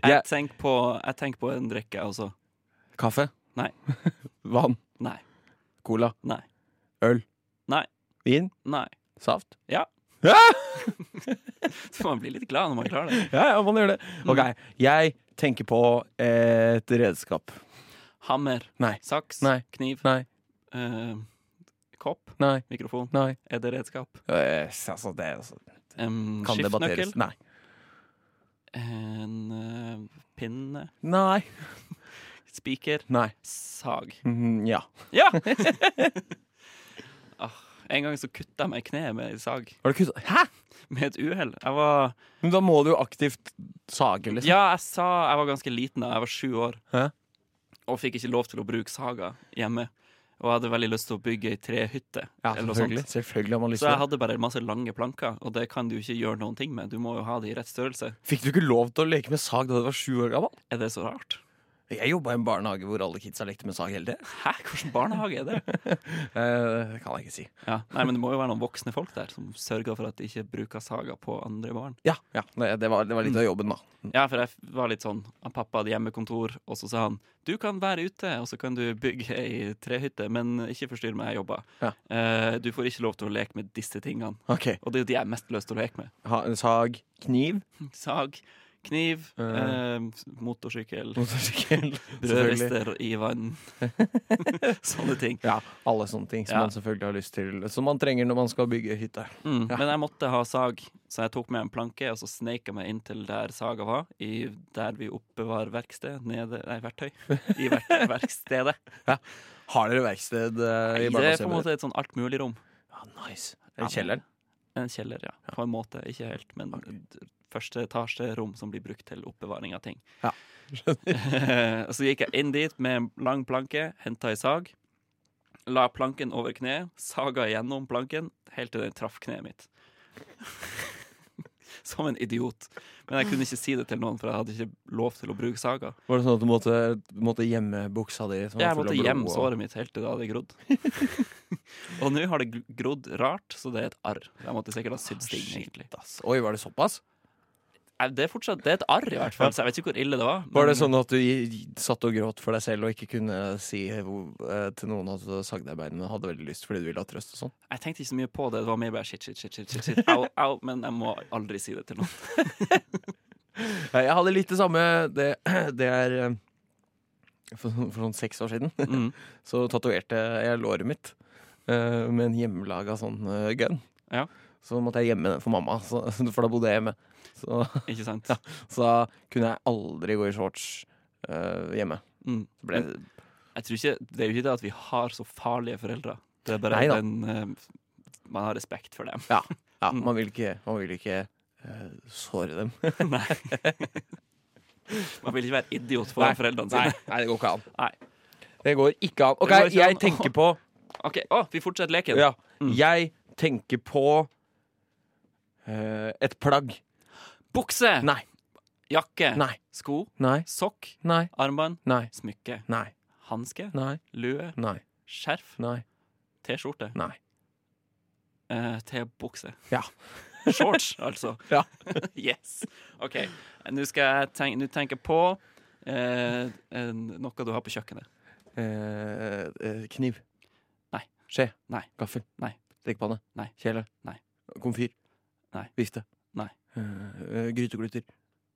Speaker 3: Jeg,
Speaker 4: Ja.
Speaker 3: tenker, på, jeg tenker på en drikke, altså. jeg også.
Speaker 4: Kaffe.
Speaker 3: Nei.
Speaker 4: Vann.
Speaker 3: Nei.
Speaker 4: Cola.
Speaker 3: Nei.
Speaker 4: Øl.
Speaker 3: Nei.
Speaker 4: Vin.
Speaker 3: Nei.
Speaker 4: Saft.
Speaker 3: Ja.
Speaker 4: Ja,
Speaker 3: Så man blir litt glad når man klarer det.
Speaker 4: ja, man gjør det.
Speaker 3: Mm.
Speaker 4: OK. Jeg tenker på eh, et redskap.
Speaker 3: Hammer.
Speaker 4: Nei.
Speaker 3: Saks.
Speaker 4: Nei.
Speaker 3: Kniv.
Speaker 4: Nei.
Speaker 3: Ehm, kopp.
Speaker 4: Nei.
Speaker 3: Mikrofon.
Speaker 4: Nei.
Speaker 3: Er det redskap?
Speaker 4: Eh, altså, det altså,
Speaker 3: Um,
Speaker 4: kan debatteres.
Speaker 3: Skiftenøkkel.
Speaker 4: Nei.
Speaker 3: En eh, pinne.
Speaker 4: Nei.
Speaker 3: Spiker.
Speaker 4: Nei.
Speaker 3: Sag.
Speaker 4: Mhm, ja.
Speaker 3: Ja! ah, en gang så kutta jeg meg i kneet med en sag.
Speaker 4: Har du kutta Hæ?!
Speaker 3: Med et uhell. Jeg var
Speaker 4: Men da må du jo aktivt sage, liksom.
Speaker 3: Ja, jeg sa jeg var ganske liten da. Jeg var sju år.
Speaker 4: Hæ?
Speaker 3: Og fikk ikke lov til å bruke saga hjemme. Og jeg hadde veldig lyst til å bygge ei trehytte.
Speaker 4: Ja,
Speaker 3: eller noe
Speaker 4: selvfølgelig.
Speaker 3: sånt.
Speaker 4: Selvfølgelig har man lyst
Speaker 3: Så jeg
Speaker 4: til det.
Speaker 3: hadde bare masse lange planker, og det kan du ikke gjøre noen ting med. Du må jo ha det i rett størrelse.
Speaker 4: Fikk du ikke lov til å leke med sag da du var sju år gammel?
Speaker 3: Er det så rart?
Speaker 4: Jeg jobba i en barnehage hvor alle kidsa lekte med sag hele tiden.
Speaker 3: Hæ, hvordan barnehage er det?
Speaker 4: Eh, det kan jeg ikke si.
Speaker 3: Ja, nei, men det må jo være noen voksne folk der som sørger for at de ikke bruker saga på andre barn.
Speaker 4: Ja, ja nei, det, var, det var litt av jobben, da.
Speaker 3: Ja, for jeg f- var litt sånn han Pappa hadde hjemmekontor, og så sa han Du kan være ute, og så kan du bygge ei trehytte, men ikke forstyrr meg, jeg jobber.
Speaker 4: Ja.
Speaker 3: Eh, du får ikke lov til å leke med disse tingene.
Speaker 4: Ok,
Speaker 3: Og det er jo de jeg har mest lyst til å leke med.
Speaker 4: ha, Sag, kniv,
Speaker 3: Sag, kniv,
Speaker 4: Eh.
Speaker 3: eh, motorsykkel,
Speaker 4: motorsykkel, selvfølgelig.
Speaker 3: brødrister i vann. Sånne ting.
Speaker 4: Ja, alle sånne ting som
Speaker 3: Ja.
Speaker 4: man selvfølgelig har lyst til. Som man trenger når man skal bygge hytte.
Speaker 3: Mm.
Speaker 4: Ja.
Speaker 3: Men jeg måtte ha sag, så jeg tok med en planke og så sneik jeg meg inn til der saga var. I, der vi oppbevarer verksted, nede, nei, verktøy. I verk- verkstedet.
Speaker 4: Har dere verksted eh,
Speaker 3: Det er på
Speaker 4: i
Speaker 3: en
Speaker 4: barndomshjemmet?
Speaker 3: måte et sånn altmuligrom.
Speaker 4: Ja, Ah, nice.
Speaker 3: Ja,
Speaker 4: Eller kjelleren?
Speaker 3: En kjeller, ja. På en måte. Ikke helt, men d- første etasje rom som blir brukt til oppbevaring av ting.
Speaker 4: Ja,
Speaker 3: så gikk jeg inn dit med en lang planke, henta ei sag, la planken over kneet, saga gjennom planken helt til den traff kneet mitt. som en idiot. Men jeg kunne ikke si det til noen, for jeg hadde ikke lov til å bruke saga.
Speaker 4: Var det sånn at du måtte, du måtte gjemme buksa di? sånn som var
Speaker 3: Jeg
Speaker 4: full av
Speaker 3: måtte
Speaker 4: blod,
Speaker 3: gjemme
Speaker 4: og-
Speaker 3: såret mitt helt til det hadde grodd. og nå har det gl- grodd rart, så det er et arr. Jeg måtte sikkert ha sydd sting, egentlig.
Speaker 4: Ah, Ass. Oi, var det såpass?
Speaker 3: Nei, Det er fortsatt det er et arr, i hvert fall, så jeg vet ikke hvor ille det var.
Speaker 4: Var det
Speaker 3: men-
Speaker 4: sånn at du gi- satt og gråt for deg selv og ikke kunne si hvor- eh, til noen at du sagde deg beina, men hadde veldig lyst fordi du ville ha trøst og sånn?
Speaker 3: Jeg tenkte ikke så mye på det. Det var mer bare shit, shit, shit, shit, shit, shit. Au, au, men jeg må aldri si det til noen.
Speaker 4: Ja, Jeg hadde litt det samme Det, det er eh, for, for sånn seks år siden
Speaker 3: Mm.
Speaker 4: Så tatoverte jeg låret mitt eh, Med en hjemmelaga sånn eh, gun
Speaker 3: Ja.
Speaker 4: Så måtte jeg gjemme den for mamma så, For da bodde jeg hjemme Så,
Speaker 3: Ikke sant?
Speaker 4: så da kunne jeg aldri gå i shorts eh, hjemme
Speaker 3: Mm.
Speaker 4: Så ble,
Speaker 3: Men Jeg tror ikke, det er jo ikke det at vi har så farlige foreldre. Det er bare
Speaker 4: Neida.
Speaker 3: den eh, Man har respekt for dem.
Speaker 4: ja,
Speaker 3: mm.
Speaker 4: man vil ikke, man vil ikke eh, såre dem
Speaker 3: Nei. Man vil ikke være idiot foran foreldrene sine.
Speaker 4: nei, det går ikke an
Speaker 3: Nei.
Speaker 4: Det går ikke an Ok,
Speaker 3: går ikke
Speaker 4: jeg
Speaker 3: an.
Speaker 4: tenker på
Speaker 3: OK, å, vi fortsetter leken.
Speaker 4: Ja, jeg tenker på eh, et plagg.
Speaker 3: Bukse,
Speaker 4: Nei,
Speaker 3: jakke,
Speaker 4: nei,
Speaker 3: sko,
Speaker 4: nei,
Speaker 3: sokk,
Speaker 4: nei,
Speaker 3: armbånd,
Speaker 4: nei,
Speaker 3: smykke,
Speaker 4: nei,
Speaker 3: hanske,
Speaker 4: nei,
Speaker 3: lue,
Speaker 4: nei,
Speaker 3: skjerf,
Speaker 4: nei,
Speaker 3: T-skjorte,
Speaker 4: nei.
Speaker 3: eh, T-bukse.
Speaker 4: Ja.
Speaker 3: Shorts, altså.
Speaker 4: Ja.
Speaker 3: yes. OK, nå skal jeg tenke, nå tenker jeg på eh, en, noe du har på kjøkkenet.
Speaker 4: Eh, eh, kniv.
Speaker 3: Nei.
Speaker 4: Skje.
Speaker 3: Nei.
Speaker 4: Gaffel.
Speaker 3: Nei.
Speaker 4: Stekepanne.
Speaker 3: Nei.
Speaker 4: Kjele.
Speaker 3: Nei.
Speaker 4: Komfyr.
Speaker 3: Nei.
Speaker 4: Vifte.
Speaker 3: Nei.
Speaker 4: Eh, eh, grytegluter.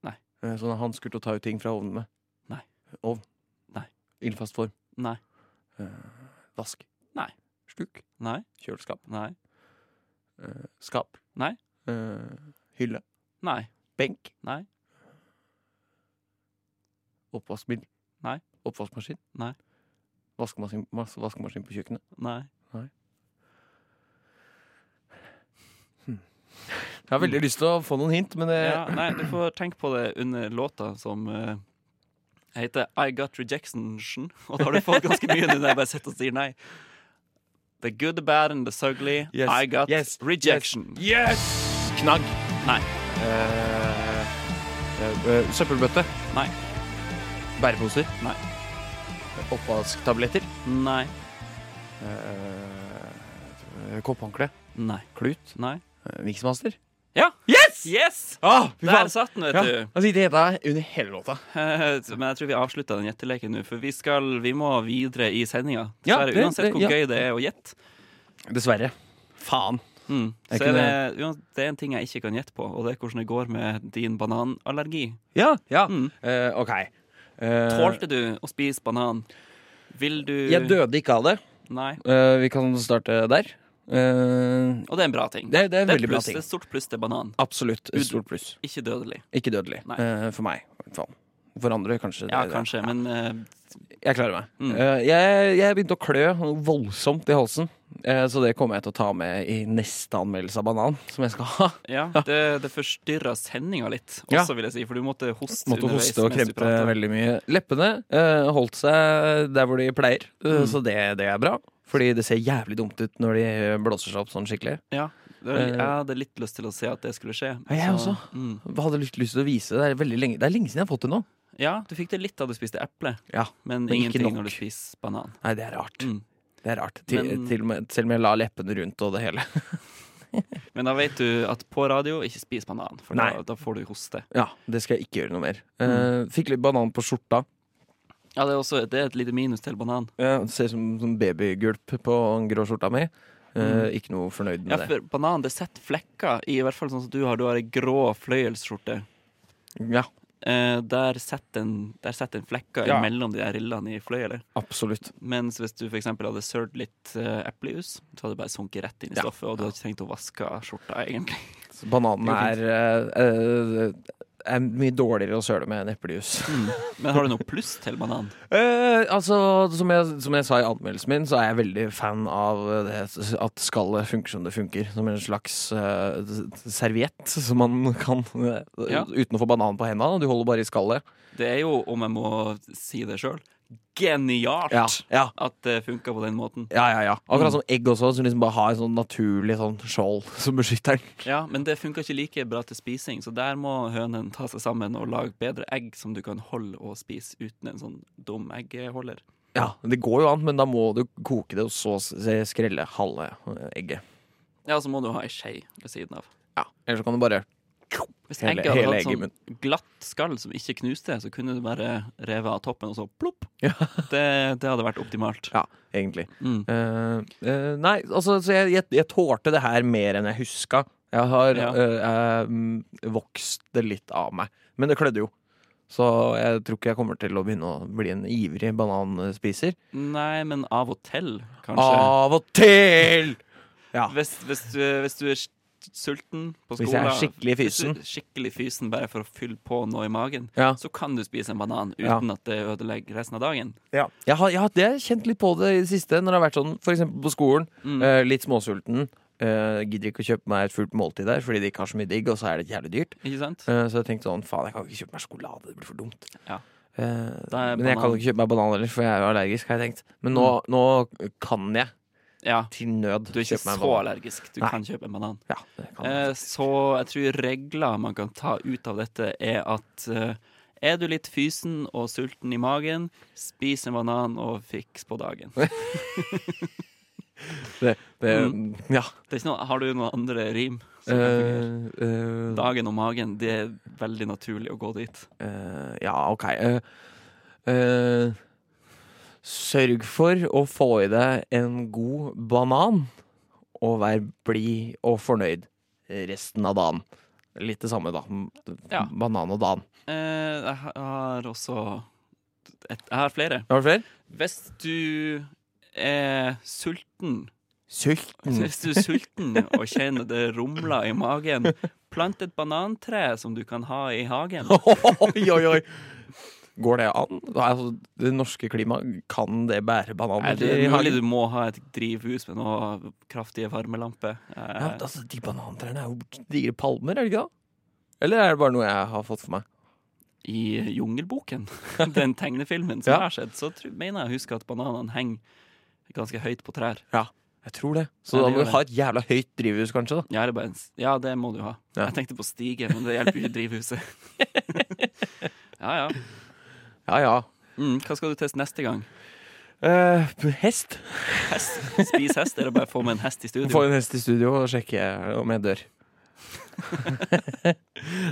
Speaker 3: Nei.
Speaker 4: Eh, sånne hansker til å ta ut ting fra ovnen med.
Speaker 3: Nei.
Speaker 4: Ovn.
Speaker 3: Nei.
Speaker 4: Ildfast form.
Speaker 3: Nei.
Speaker 4: Eh, vask.
Speaker 3: Nei.
Speaker 4: Sluk.
Speaker 3: Nei.
Speaker 4: Kjøleskap.
Speaker 3: Nei.
Speaker 4: Eh, skap.
Speaker 3: Nei.
Speaker 4: Eh, hylle.
Speaker 3: Nei.
Speaker 4: Benk.
Speaker 3: Nei.
Speaker 4: Oppvaskmiddel.
Speaker 3: Nei.
Speaker 4: Oppvaskmaskin.
Speaker 3: Nei.
Speaker 4: Vaskemaskin, mas- vaskemaskin på kjøkkenet.
Speaker 3: Nei.
Speaker 4: Jeg har veldig lyst til å få noen hint, men det
Speaker 3: Mm. Ja, nei, du får tenke på det under låta som eh, heter I Got Rejection. Og da har du fått ganske mye når jeg bare sitter og sier nei. The good, the bad and the ugly.
Speaker 4: Yes,
Speaker 3: I got
Speaker 4: yes,
Speaker 3: rejection.
Speaker 4: Yes! Knagg.
Speaker 3: Nei.
Speaker 4: Eh, eh, søppelbøtte.
Speaker 3: Nei.
Speaker 4: Bæreposer.
Speaker 3: Nei.
Speaker 4: Oppvasktabletter.
Speaker 3: Nei.
Speaker 4: Eh, kopphåndkle.
Speaker 3: Nei.
Speaker 4: Klut.
Speaker 3: Nei.
Speaker 4: Eh, Miksmaster.
Speaker 3: Ja!
Speaker 4: Yes!
Speaker 3: Yes!
Speaker 4: Ah, fy
Speaker 3: Der
Speaker 4: faen.
Speaker 3: satt den, vet
Speaker 4: Ja,
Speaker 3: du.
Speaker 4: altså, det heter jeg under hele låta.
Speaker 3: Eh, Men jeg tror vi avslutta den gjetteleken nå, for vi, skal, vi må videre i sendinga.
Speaker 4: Ja,
Speaker 3: Dessverre,
Speaker 4: det-
Speaker 3: uansett
Speaker 4: det-
Speaker 3: hvor
Speaker 4: ja.
Speaker 3: gøy det er å gjette,
Speaker 4: Dessverre. Faen.
Speaker 3: mm,
Speaker 4: Jeg
Speaker 3: så er det,
Speaker 4: kunne-
Speaker 3: uans- det er en ting jeg ikke kan gjette på, og det er hvordan det går med din bananallergi.
Speaker 4: Ja, ja.
Speaker 3: Mm.
Speaker 4: Eh, OK. Eh,
Speaker 3: Tålte du å spise banan? Vil du
Speaker 4: Jeg døde ikke av det.
Speaker 3: Nei.
Speaker 4: Eh, vi kan starte der. Eh,
Speaker 3: Og det er en bra ting.
Speaker 4: det, det er en
Speaker 3: Det er
Speaker 4: veldig bra
Speaker 3: pluss,
Speaker 4: ting.
Speaker 3: det er stort pluss til banan.
Speaker 4: Absolutt.
Speaker 3: Du-
Speaker 4: Et stort pluss.
Speaker 3: Ikke dødelig.
Speaker 4: Ikke dødelig.
Speaker 3: Nei.
Speaker 4: Eh, for meg, i hvert fall. For andre, kanskje.
Speaker 3: Ja,
Speaker 4: det-
Speaker 3: kanskje, men eh,
Speaker 4: Jeg klarer meg.
Speaker 3: Mm.
Speaker 4: Eh, jeg, jeg begynte å klø noe voldsomt i halsen, eh, så det kommer jeg til å ta med i neste anmeldelse av banan, som jeg skal ha.
Speaker 3: ja, det, det forstyrra sendinga litt også,
Speaker 4: Ja.
Speaker 3: vil jeg si, for du måtte hoste
Speaker 4: Måtte
Speaker 3: underveis.
Speaker 4: hoste og
Speaker 3: mens du
Speaker 4: kremte
Speaker 3: pratet.
Speaker 4: veldig mye. Leppene eh, holdt seg der hvor de pleier, eh,
Speaker 3: Mm.
Speaker 4: så det, det er bra. Fordi det ser jævlig dumt ut når de blåser seg opp sånn skikkelig.
Speaker 3: Ja, det var,
Speaker 4: Eh.
Speaker 3: jeg hadde litt lyst til å se at det skulle skje.
Speaker 4: Ja, jeg
Speaker 3: så-
Speaker 4: også.
Speaker 3: Mm.
Speaker 4: Hva hadde lyst, lyst til å vise? Det er, veldig lenge, det er lenge siden jeg har fått det nå.
Speaker 3: Ja, du fikk det litt da du spiste eple,
Speaker 4: Ja.
Speaker 3: men,
Speaker 4: Men ikke
Speaker 3: ingenting
Speaker 4: nok.
Speaker 3: når du spiser banan.
Speaker 4: Nei, det er rart.
Speaker 3: Mm.
Speaker 4: Det er rart. Til,
Speaker 3: Men-
Speaker 4: til og med, selv om jeg la leppene rundt og det hele.
Speaker 3: Men da vet du at på radio, ikke spis banan, for
Speaker 4: Nei.
Speaker 3: da, da får du hoste.
Speaker 4: Ja, det skal jeg ikke gjøre noe mer.
Speaker 3: Mm.
Speaker 4: Eh, fikk litt banan på skjorta.
Speaker 3: Ja, det er også det er et lite minus til banan.
Speaker 4: Eh, ser ut som, som babygulp på den grå skjorta mi. Eh, Ikke noe fornøyd med
Speaker 3: Mm. Ja, for banan, det setter flekker i, i hvert fall sånn som du har. Du har ei grå fløyelsskjorte.
Speaker 4: det. Ja,
Speaker 3: Eh, der setter en, der setter en flekker
Speaker 4: Ja.
Speaker 3: imellom de der rillene i fløyelet.
Speaker 4: absolutt.
Speaker 3: Mens hvis du for eksempel hadde sølt litt eh, eplejus, så hadde det bare sunket rett inn i
Speaker 4: Ja.
Speaker 3: stoffet, og du hadde ikke tenkt å vaske skjorta, egentlig.
Speaker 4: Så bananen
Speaker 3: Det
Speaker 4: er, eh, eh, er mye dårligere å søle med enn eplejus.
Speaker 3: Men har du noe pluss til banan?
Speaker 4: Eh, altså, som jeg, som jeg sa i anmeldelsen min, så er jeg veldig fan av det, at skallet funker som det funker. Som en slags eh, serviett som man kan eh,
Speaker 3: Ja.
Speaker 4: Uten å få banan på hendene. Du holder bare i skallet.
Speaker 3: Det er jo, om jeg må si det sjøl, genialt
Speaker 4: Ja, ja.
Speaker 3: at det funka på den måten.
Speaker 4: Ja, ja, ja. Akkurat som egg også, som liksom bare har en sånn naturlig sånn skjold som beskytter den.
Speaker 3: Ja, Men det funka ikke like bra til spising, så der må hønen ta seg sammen og lage bedre egg som du kan holde og spise uten en sånn dum eggholder.
Speaker 4: Ja, Det går jo an, men da må du koke det og så s- skrelle halve eh, egget.
Speaker 3: Ja, så må du ha ei skje ved siden av.
Speaker 4: Ja, Eller så kan du bare
Speaker 3: Hvis
Speaker 4: Hele-
Speaker 3: egget hadde
Speaker 4: hele
Speaker 3: hatt
Speaker 4: egget i
Speaker 3: sånn glatt skall som ikke knuste, så kunne du bare revet av toppen og så plopp.
Speaker 4: Ja.
Speaker 3: Det, det hadde vært optimalt.
Speaker 4: Ja, egentlig.
Speaker 3: Mm.
Speaker 4: Eh, eh, nei, altså så jeg, jeg, jeg tålte det her mer enn jeg huska. Jeg har
Speaker 3: Ja.
Speaker 4: eh, eh, mm, vokst det litt av meg. Men det klødde jo. Så jeg tror ikke jeg kommer til å begynne å bli en ivrig bananspiser.
Speaker 3: Nei, men av og til, kanskje.
Speaker 4: Av og til! Ja.
Speaker 3: Hvis, hvis, du, hvis du er s- sulten på skolen
Speaker 4: Hvis jeg er skikkelig
Speaker 3: hvis du er
Speaker 4: fysen.
Speaker 3: Skikkelig fysen bare for å fylle på noe i magen,
Speaker 4: Ja.
Speaker 3: så kan du spise en banan
Speaker 4: Ja.
Speaker 3: uten at det ødelegger resten av dagen.
Speaker 4: Jeg har, jeg har det har jeg kjent litt på det i det siste, når det har vært sånn for eksempel på skolen.
Speaker 3: Mm.
Speaker 4: eh, litt småsulten. eh, gidder ikke å kjøpe meg et fullt måltid der fordi de ikke har så mye digg, og så er det jævlig dyrt.
Speaker 3: Ikke sant?
Speaker 4: Eh, så jeg tenkte sånn, faen, jeg kan ikke kjøpe meg sjokolade, det blir for dumt.
Speaker 3: Ja.
Speaker 4: Eh,
Speaker 3: Da er
Speaker 4: men jeg
Speaker 3: banan-
Speaker 4: kan jo ikke kjøpe meg banan heller, for jeg er jo allergisk, har jeg tenkt. Men nå, nå kan jeg
Speaker 3: Ja.
Speaker 4: til nød
Speaker 3: Du er ikke
Speaker 4: kjøpe meg en
Speaker 3: så
Speaker 4: banan.
Speaker 3: allergisk. Du
Speaker 4: Nei.
Speaker 3: kan kjøpe en banan.
Speaker 4: Ja, det kan jeg.
Speaker 3: Eh, Så jeg tror regler man kan ta ut av dette, er at eh, er du litt fysen og sulten i magen, spis en banan og fiks på dagen. Det
Speaker 4: det, det,
Speaker 3: mm.
Speaker 4: Ja.
Speaker 3: er ikke noe, har du noen andre rim? som kan fungere?
Speaker 4: Eh, eh,
Speaker 3: Dagen og magen, det er veldig naturlig å gå dit.
Speaker 4: Eh, ja, ok. Eh, eh, sørg for å få i deg en god banan, og vær blid og fornøyd resten av dagen. Litt det samme, da. M-
Speaker 3: Ja.
Speaker 4: Banan og dan.
Speaker 3: Eh, jeg har også et, Jeg har flere.
Speaker 4: Har du flere?
Speaker 3: Hvis du er sulten
Speaker 4: Sulten.
Speaker 3: Hvis du er sulten og kjenner det rumler i magen, plant et banantre som du kan ha i hagen.
Speaker 4: oi, oi, oi. Går det an? Altså, det norske klimaet, kan det bære
Speaker 3: Nei,
Speaker 4: bananer?
Speaker 3: det
Speaker 4: i
Speaker 3: er mulig
Speaker 4: hagen?
Speaker 3: du må ha et drivhus med noen kraftige varmelamper. Eh,
Speaker 4: ja, altså, De banantrærne er jo digre palmer, er det ikke det? Eller er det bare noe jeg har fått for meg?
Speaker 3: I Jungelboken, den tegnefilmen som
Speaker 4: Ja.
Speaker 3: jeg har sett, så tr- mener jeg å huske at bananene henger ganske høyt på trær.
Speaker 4: Jeg tror det. Så
Speaker 3: Ja,
Speaker 4: da
Speaker 3: det
Speaker 4: må
Speaker 3: gjør
Speaker 4: du ha et jævla høyt drivhus, kanskje. da
Speaker 3: Ja, det, er bare en, s- ja, det må du ha.
Speaker 4: Ja.
Speaker 3: Jeg tenkte på stige, men det hjelper jo ikke drivhuset. ja, ja.
Speaker 4: Ja, ja.
Speaker 3: Mm, hva skal du teste neste gang?
Speaker 4: Eh, hest.
Speaker 3: Hest? Spis hest, eller bare få med en hest i studio?
Speaker 4: Få en hest i studio og sjekke om jeg dør.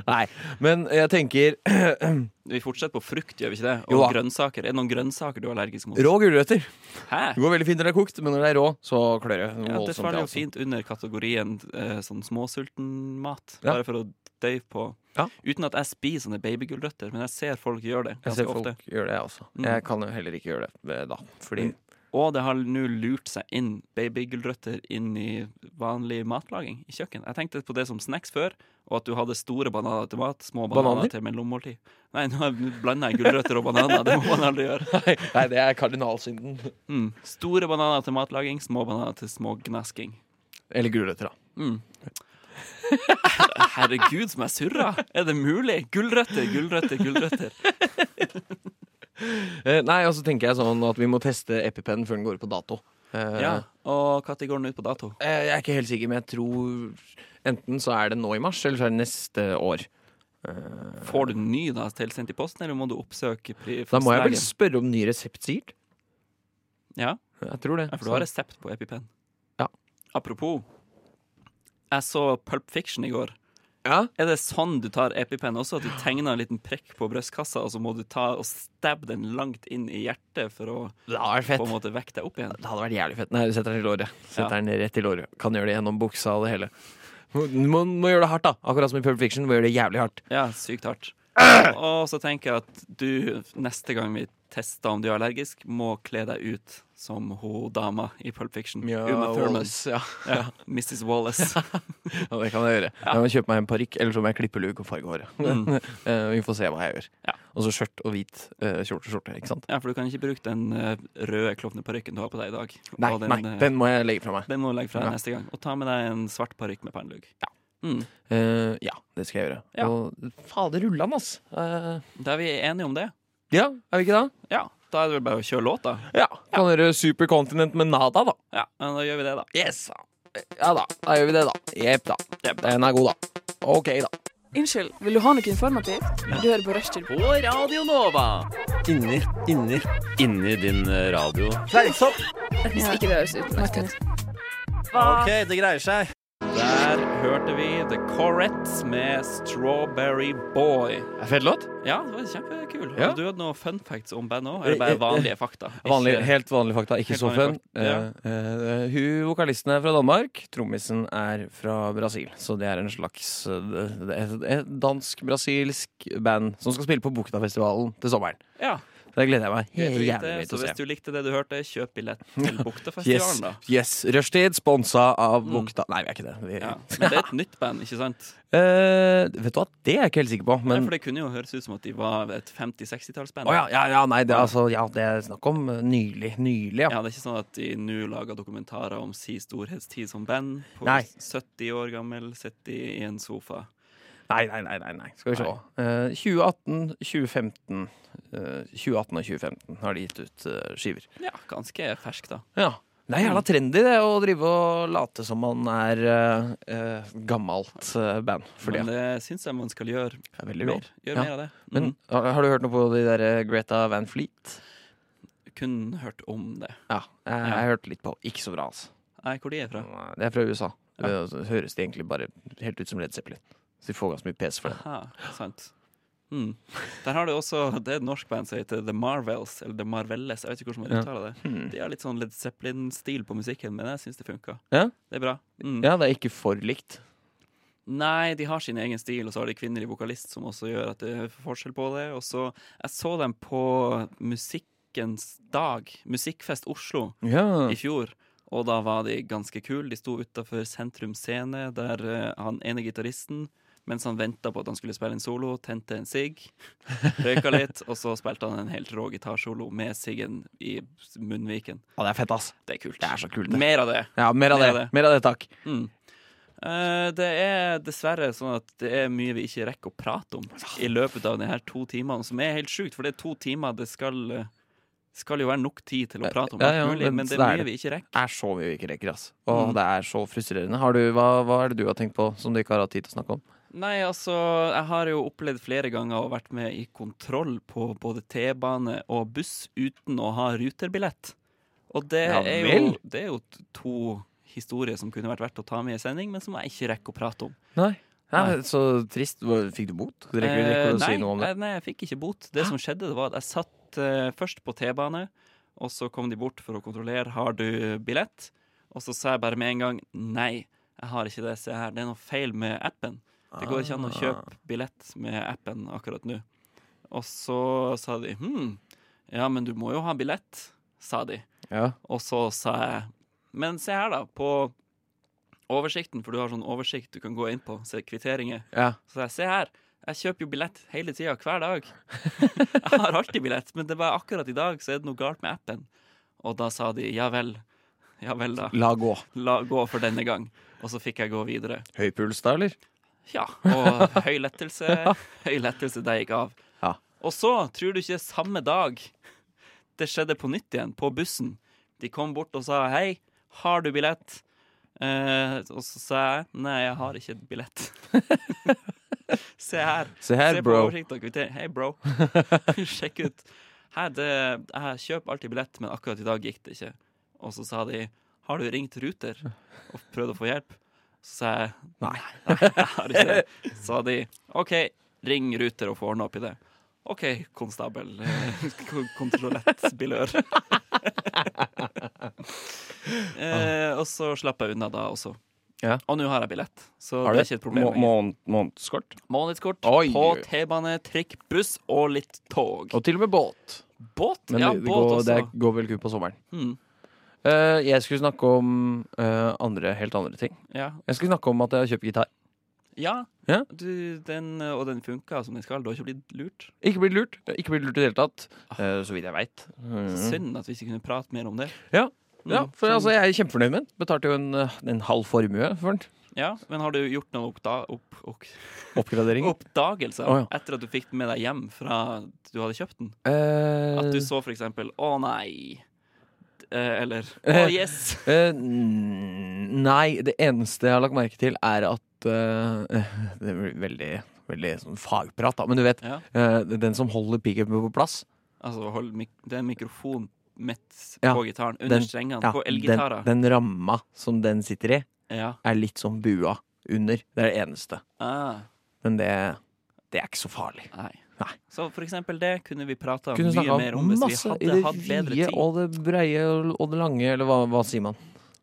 Speaker 4: Nei, men jeg tenker
Speaker 3: Vi fortsetter på frukt, gjør vi ikke det?
Speaker 4: Jo
Speaker 3: Og
Speaker 4: da.
Speaker 3: grønnsaker. Er det noen grønnsaker du er allergisk mot?
Speaker 4: rå gulrøtter.
Speaker 3: Hæ?
Speaker 4: Det går veldig fint når det er kokt, men når det er rå, så klør sånn det
Speaker 3: Ja, det
Speaker 4: voldsomt. i
Speaker 3: faller jo
Speaker 4: halsen.
Speaker 3: fint under kategorien eh, sånn småsulten mat.
Speaker 4: Ja.
Speaker 3: Bare for å døyve på.
Speaker 4: Ja.
Speaker 3: Uten at jeg spiser sånne babygulrøtter, men jeg ser folk gjøre det
Speaker 4: Jeg
Speaker 3: ganske
Speaker 4: ser folk
Speaker 3: ofte.
Speaker 4: gjør det, jeg også.
Speaker 3: Mm.
Speaker 4: Jeg kan jo heller ikke gjøre det eh, da, fordi
Speaker 3: Mm. Og det har nå lurt seg inn babygulrøtter inn i vanlig matlaging i kjøkken. Jeg tenkte på det som snacks før, og at du hadde store bananer til mat, små bananer,
Speaker 4: Bananer?
Speaker 3: til mellommåltid. Nei, nå har jeg- nå blander jeg gulrøtter og bananer. Det må man aldri gjøre.
Speaker 4: Nei, det er kardinalsynden.
Speaker 3: Mm. Store bananer til matlaging, små bananer til smågnasking.
Speaker 4: Eller gulrøtter, da.
Speaker 3: Herregud, som jeg surra! Er det mulig? Gulrøtter, gulrøtter, gulrøtter.
Speaker 4: Eh, nei, og så tenker jeg sånn at vi må teste EpiPen før den går ut på dato. Eh,
Speaker 3: Ja, Og når går den ut på dato?
Speaker 4: eh, Jeg er ikke helt sikker, men jeg tror enten så er det nå i mars, eller så er det neste år. Eh,
Speaker 3: Får du den ny da tilsendt i posten, eller må du oppsøke pri-
Speaker 4: Da må jeg vel
Speaker 3: fastlegen?
Speaker 4: spørre om ny resept, sikkert.
Speaker 3: Ja,
Speaker 4: Jeg tror det.
Speaker 3: ja, for du har resept på EpiPen.
Speaker 4: Ja.
Speaker 3: Apropos, jeg så Pulp Fiction i går.
Speaker 4: ja?
Speaker 3: Er det sånn du tar EpiPen også? At du tegner en liten prekk på brystkassa, og så må du ta og stabbe den langt inn i hjertet for å
Speaker 4: Det hadde vært
Speaker 3: på
Speaker 4: fett.
Speaker 3: en måte vekke deg opp igjen?
Speaker 4: Det hadde vært jævlig fett. Nei, du setter den i låret. Setter
Speaker 3: Ja.
Speaker 4: den rett i låret. Kan gjøre det gjennom buksa og det hele. Må, må, må gjøre det hardt, da. Akkurat som i Pulp Fiction. Må gjøre det jævlig hardt.
Speaker 3: Ja, sykt hardt. Og så tenker jeg at du neste gang vi tester om du er allergisk, må kle deg ut som hun dama i Pulp Fiction. Uma Thurman.
Speaker 4: Ja,
Speaker 3: Ja, Mrs. Wallace.
Speaker 4: Ja, det kan jeg gjøre. Jeg må kjøpe meg en parykk, eller så må jeg klippe luk og farge håret. Eh, vi får se hva jeg gjør.
Speaker 3: Mm. Ja.
Speaker 4: Og så skjørt og hvit eh, skjorte og skjorte, ikke sant?
Speaker 3: Ja, for du kan ikke bruke den eh, røde klovneparykken du har på deg i dag.
Speaker 4: Nei,
Speaker 3: Og
Speaker 4: nei,
Speaker 3: eh,
Speaker 4: den må jeg legge fra meg.
Speaker 3: den må du legge fra deg
Speaker 4: Ja.
Speaker 3: neste gang. Og ta med deg en svart parykk med pannelugg. Mm.
Speaker 4: Eh, ja, det skal jeg gjøre.
Speaker 3: Ja.
Speaker 4: Og fader ullan, ass. Eh,
Speaker 3: Da er vi enige om det.
Speaker 4: ja, er vi ikke det?
Speaker 3: Ja. Da er det vel bare å kjøre låta.
Speaker 4: Ja, Kan høre Supercontinent med Nada, da.
Speaker 3: Ja, men da gjør vi det, da.
Speaker 4: Yes! Ja da, da gjør vi det, da. Jepp da. Den er god, da. Ok, da.
Speaker 6: Unnskyld, vil du ha noe informativt? Du hører på Rushtid.
Speaker 7: Inni, inni, inni din eh, radio.
Speaker 6: Hvis ikke det høres utenlandsk ut.
Speaker 7: OK, det greier seg.
Speaker 3: Der hørte vi The Correts med Strawberry Boy.
Speaker 4: Fet låt.
Speaker 3: Ja, det var kjempekul.
Speaker 4: Ja. Eh,
Speaker 3: Har du hatt noen fun facts om bandet òg? Eller bare vanlige fakta?
Speaker 4: Vanlig,
Speaker 3: Ikke-
Speaker 4: helt vanlig fakta, ikke
Speaker 3: Helt
Speaker 4: så fun.
Speaker 3: vanlig fakta, ja.
Speaker 4: Eh, eh, hun vokalisten er fra Danmark, trommisen er fra Brasil. Så det er en slags eh, det er et dansk-brasilsk band som skal spille på Buktafestivalen til sommeren.
Speaker 3: Ja,
Speaker 4: Det gleder jeg meg
Speaker 3: helt
Speaker 4: helt jævlig
Speaker 3: riktig.
Speaker 4: til
Speaker 3: Så
Speaker 4: å
Speaker 3: hvis
Speaker 4: se.
Speaker 3: du likte det du hørte, kjøp billett til
Speaker 4: Yes,
Speaker 3: Buktafestivalen, da.
Speaker 4: yes. Rushtid, sponsa av Bukta Nei, vi er ikke det. Vi,
Speaker 3: Ja. Men det er et nytt band, ikke sant?
Speaker 4: Eh, vet du hva, det er jeg ikke helt sikker på.
Speaker 3: Nei,
Speaker 4: Men
Speaker 3: for det kunne jo høres ut som at de var et 50-60-tallsband.
Speaker 4: Å ja, ja, ja, nei, det, er altså, ja, det er snakk om eh, nylig. Nylig, ja.
Speaker 3: Ja, det er ikke sånn at de nå lager dokumentarer om si storhetstid som band. På
Speaker 4: Nei.
Speaker 3: 70 år gammel, sitter i en sofa.
Speaker 4: Nei, nei, nei. nei, nei. Skal vi se. Eh, 2018, 2015 eh, 2018 og 2015 har de gitt ut eh, skiver.
Speaker 3: Ja, ganske fersk, da.
Speaker 4: Ja. Det er jævla trendy det å drive og late som man er eh, eh, gammelt eh, band. Fordi,
Speaker 3: Men det syns jeg man skal gjøre
Speaker 4: det er veldig
Speaker 3: mer.
Speaker 4: råd.
Speaker 3: Gjør
Speaker 4: Ja.
Speaker 3: mer av det.
Speaker 4: Men
Speaker 3: Mhm.
Speaker 4: har, har du hørt noe på de der eh, Greta Van Fleet?
Speaker 3: Mm. kun hørt om det.
Speaker 4: Ja. Jeg, jeg hørte litt på. Ikke så bra, altså.
Speaker 3: Nei, hvor de er fra.
Speaker 4: Nei, Det er fra USA. Eh, Så høres de egentlig bare helt ut som Led Zeppelin. Så de får ganske mye pes for det.
Speaker 3: Ha, sant. Mm. Der har du også det er et norsk band som heter The Marvels, eller The Marvelles. Jeg vet ikke hvordan man
Speaker 4: Ja.
Speaker 3: uttaler det.
Speaker 4: Hmm.
Speaker 3: De har litt sånn Led Zeppelin-stil på musikken, men jeg syns det funka.
Speaker 4: Ja.
Speaker 3: Det er bra. Mm.
Speaker 4: Ja, det er ikke for likt.
Speaker 3: Nei, de har sin egen stil, og så har de kvinnelig vokalist som også gjør at det er forskjell på det. Og så Jeg så dem på Musikkens dag, Musikkfest Oslo,
Speaker 4: Ja.
Speaker 3: i fjor. Og da var de ganske kule. De sto utafor Sentrum Scene, der eh, han ene gitaristen, mens han venta på at han skulle spille en solo, tente en sigg, røyka litt, og så spilte han en helt rå gitarsolo med siggen i munnviken.
Speaker 4: Ja, det er fett, ass. Det er kult. Det er så kult, det.
Speaker 3: Mer av det!
Speaker 4: Ja, mer av
Speaker 3: Mer
Speaker 4: det.
Speaker 3: av det.
Speaker 4: Mer av det, takk.
Speaker 3: Mm. Eh, det er dessverre sånn at det er mye vi ikke rekker å prate om i løpet av de her to timene, som er helt sjukt, for det er to timer det skal eh, skal jo være nok tid til å prate om
Speaker 4: Ja,
Speaker 3: alt
Speaker 4: ja,
Speaker 3: mulig,
Speaker 4: men
Speaker 3: men det er
Speaker 4: så er
Speaker 3: mye
Speaker 4: det.
Speaker 3: vi ikke rekker.
Speaker 4: Det er så mye vi ikke rekker, ass. Og
Speaker 3: Mm.
Speaker 4: det er så frustrerende. Har du, hva, hva er det du har tenkt på som du ikke har hatt tid til å snakke om?
Speaker 3: Nei, altså, jeg har jo opplevd flere ganger å vært med i kontroll på både T-bane og buss uten å ha ruterbillett. Og det,
Speaker 4: Ja
Speaker 3: er, jo,
Speaker 4: vel.
Speaker 3: det er jo t- to historier som kunne vært verdt å ta med i sending, men som jeg ikke rekker å prate om.
Speaker 4: Nei.
Speaker 3: Nei.
Speaker 4: så trist. Hva- Fikk du bot? Rekker,
Speaker 3: Eh,
Speaker 4: rekker du å
Speaker 3: nei,
Speaker 4: si noe om det?
Speaker 3: nei, nei, jeg fikk ikke bot. Det som skjedde, det var at jeg satt eh, først på T-bane, og så kom de bort for å kontrollere har du billett. Og så sa jeg bare med en gang nei, jeg har ikke det. Se her, det er noe feil med appen. Det går ikke an
Speaker 4: Ah.
Speaker 3: å kjøpe billett med appen akkurat nå. Og så sa de hm, ja, men du må jo ha billett, sa de.
Speaker 4: Ja.
Speaker 3: Og så sa jeg Men se her, da. På oversikten, for du har sånn oversikt du kan gå inn på, se kvitteringer.
Speaker 4: ja.
Speaker 3: Så sa jeg se her, jeg kjøper jo billett hele tida, hver dag. Jeg har alltid billett, men det var akkurat i dag, så er det noe galt med appen. Og da sa de ja vel. Ja vel, da.
Speaker 4: La gå.
Speaker 3: La gå for denne gang. Og så fikk jeg gå videre.
Speaker 4: Høy puls da, eller?
Speaker 3: Ja, og høy lettelse. Høy lettelse det gikk av.
Speaker 4: Ja.
Speaker 3: Og så, tror du ikke, samme dag det skjedde på nytt igjen, på bussen. De kom bort og sa 'hei, har du billett?' Eh, og så sa jeg 'nei, jeg har ikke billett'. Se her.
Speaker 4: Se her,
Speaker 3: Se på
Speaker 4: bro.
Speaker 3: oversikt og kvittering. Hei, bro. Sjekk ut. Her, det, jeg kjøper alltid billett, men akkurat i dag gikk det ikke. Og så sa de 'har du ringt Ruter og prøvd å få hjelp?' Så sa jeg
Speaker 4: Nei.
Speaker 3: jeg har ikke det. Sa de OK, ring Ruter og få ordna opp i det. OK, konstabel. eh, kon- Kontrollettbilør. eh, og så slapp jeg unna da også.
Speaker 4: Ja.
Speaker 3: Og nå har jeg billett, så
Speaker 4: Har
Speaker 3: det
Speaker 4: du
Speaker 3: er ikke et problem.
Speaker 4: Må-
Speaker 3: lenger.
Speaker 4: måned- Månedskort?
Speaker 3: Månedskort
Speaker 4: Oi.
Speaker 3: på T-bane, trikk, buss og litt tog.
Speaker 4: Og til og med båt.
Speaker 3: båt?
Speaker 4: Men
Speaker 3: ja,
Speaker 4: det, det,
Speaker 3: båt
Speaker 4: går,
Speaker 3: også.
Speaker 4: det går vel kun på sommeren.
Speaker 3: Mm.
Speaker 4: Eh, jeg skulle snakke om eh, andre, helt andre ting.
Speaker 3: Ja.
Speaker 4: Jeg skulle snakke om at jeg har kjøpt gitar.
Speaker 3: ja.
Speaker 4: Ja.
Speaker 3: Du, den, og den funka som den skal. Du har ikke blitt lurt?
Speaker 4: Ikke blitt lurt. Ikke blitt lurt i det hele tatt. eh, så vidt jeg veit.
Speaker 3: Ah.
Speaker 4: Mm.
Speaker 3: Synd at vi ikke kunne prate mer om det. Mm.
Speaker 4: altså, Ja, ja, for altså, jeg er kjempefornøyd med den. Betalte jo en, eh, en halv formue for den.
Speaker 3: Ja, men har du gjort noen oppda opp, ok-
Speaker 4: Oppgradering?
Speaker 3: oppdagelser
Speaker 4: Å, ja.
Speaker 3: etter at du fikk den med deg hjem fra du hadde kjøpt den?
Speaker 4: Eh,
Speaker 3: At du så for eksempel 'Å nei', eh, eller 'Å yes'.
Speaker 4: eh, n- nei, det eneste jeg har lagt merke til, er at eh, Det blir veldig, veldig sånn fagprat, da. Men du vet,
Speaker 3: Ja.
Speaker 4: eh, den som holder pickupen på plass,
Speaker 3: Altså, hold mik det er en mikrofon midt
Speaker 4: Ja,
Speaker 3: på gitaren, under
Speaker 4: den-
Speaker 3: strengene,
Speaker 4: ja,
Speaker 3: på
Speaker 4: den,
Speaker 3: elgitarer.
Speaker 4: den ramma som den sitter i,
Speaker 3: Ja.
Speaker 4: er litt som bua under. Det er det eneste.
Speaker 3: Ah,
Speaker 4: Men det, det er ikke så farlig.
Speaker 3: nei.
Speaker 4: Nei.
Speaker 3: Så for eksempel det kunne vi prata
Speaker 4: Kunne
Speaker 3: mye
Speaker 4: snakka
Speaker 3: mer om
Speaker 4: om
Speaker 3: hvis vi
Speaker 4: masse i
Speaker 3: hadde
Speaker 4: det
Speaker 3: hatt bedre
Speaker 4: vide
Speaker 3: tid.
Speaker 4: og det breie og og det lange, eller hva, hva sier man?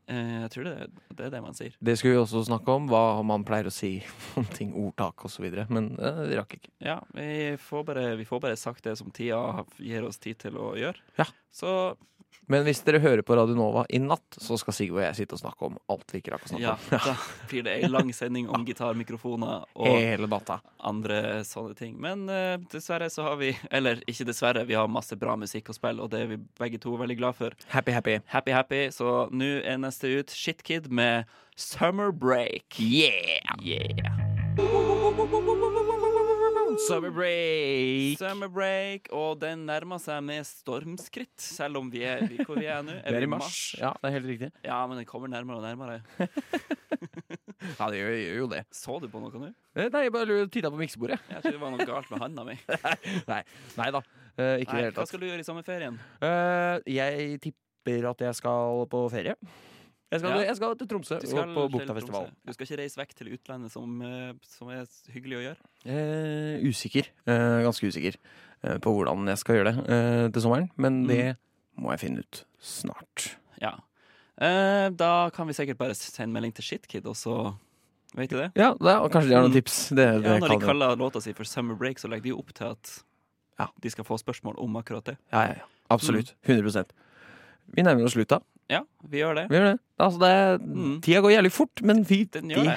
Speaker 3: Eh, jeg tror det, er- det er det man sier.
Speaker 4: Det skulle vi også snakke om, hva man pleier å si om ting, ordtak osv. Men eh, vi rakk ikke.
Speaker 3: Ja, vi får, bare, vi får bare sagt det som tida gir oss tid til å gjøre.
Speaker 4: Ja.
Speaker 3: Så
Speaker 4: Men hvis dere hører på Radio Nova i natt, så skal Sigve og jeg sitte og snakke om alt vi ikke rakk å snakke
Speaker 3: ja, da blir det ei lang sending om gitarmikrofoner
Speaker 4: om.
Speaker 3: og
Speaker 4: Hele natta.
Speaker 3: andre sånne ting. Men eh, dessverre så har vi Eller ikke dessverre, vi har masse bra musikk å spille, og det er vi begge to veldig glad for.
Speaker 4: Happy, happy.
Speaker 3: Happy Happy, så nå er neste ut Shitkid med Summer Break. Yeah!
Speaker 4: Summer break.
Speaker 3: Summer Break, og den nærmer seg med stormskritt, selv om vi er vi- hvor vi er nå.
Speaker 4: Vi er i mars. Ja, det er helt riktig.
Speaker 3: Ja, men den kommer nærmere og nærmere.
Speaker 4: Ja, det gjør, gjør jo det.
Speaker 3: Så du på noe nå?
Speaker 4: Eh, Nei, jeg bare titta på miksebordet.
Speaker 3: Jeg tror det var noe galt med handa mi.
Speaker 4: Nei, nei da. Eh, ikke
Speaker 3: Nei,
Speaker 4: i det hele
Speaker 3: hva
Speaker 4: tatt.
Speaker 3: skal du gjøre i sommerferien?
Speaker 4: Eh, jeg tipper at jeg skal på ferie. Jeg skal,
Speaker 3: Ja.
Speaker 4: jeg skal til Tromsø
Speaker 3: Du skal
Speaker 4: og på
Speaker 3: til
Speaker 4: Buktafestivalen.
Speaker 3: Tromsø. Du skal ikke reise vekk til utlandet, som, eh, som er hyggelig å gjøre?
Speaker 4: Eh, usikker. Eh, ganske usikker eh, på hvordan jeg skal gjøre det eh, til sommeren.
Speaker 3: Mm.
Speaker 4: Men det må jeg finne ut snart.
Speaker 3: Ja. Eh, da kan vi sikkert bare sende melding til Shitkid, og så Vet du det?
Speaker 4: Ja, det, er- og kanskje de har
Speaker 3: Mm.
Speaker 4: noen tips. Det, det
Speaker 3: Ja, når de
Speaker 4: kan jeg.
Speaker 3: kaller låta si for Summer Break, så legger de jo opp til at
Speaker 4: Ja.
Speaker 3: de skal få spørsmål om akkurat det.
Speaker 4: Ja, ja, ja. Absolutt. 100 Vi nærmer oss slutta.
Speaker 3: Mm. Ja, vi gjør det.
Speaker 4: Vi gjør det. Altså, det er,
Speaker 3: Mm.
Speaker 4: Tida går jævlig fort, men vi
Speaker 3: Den gjør det.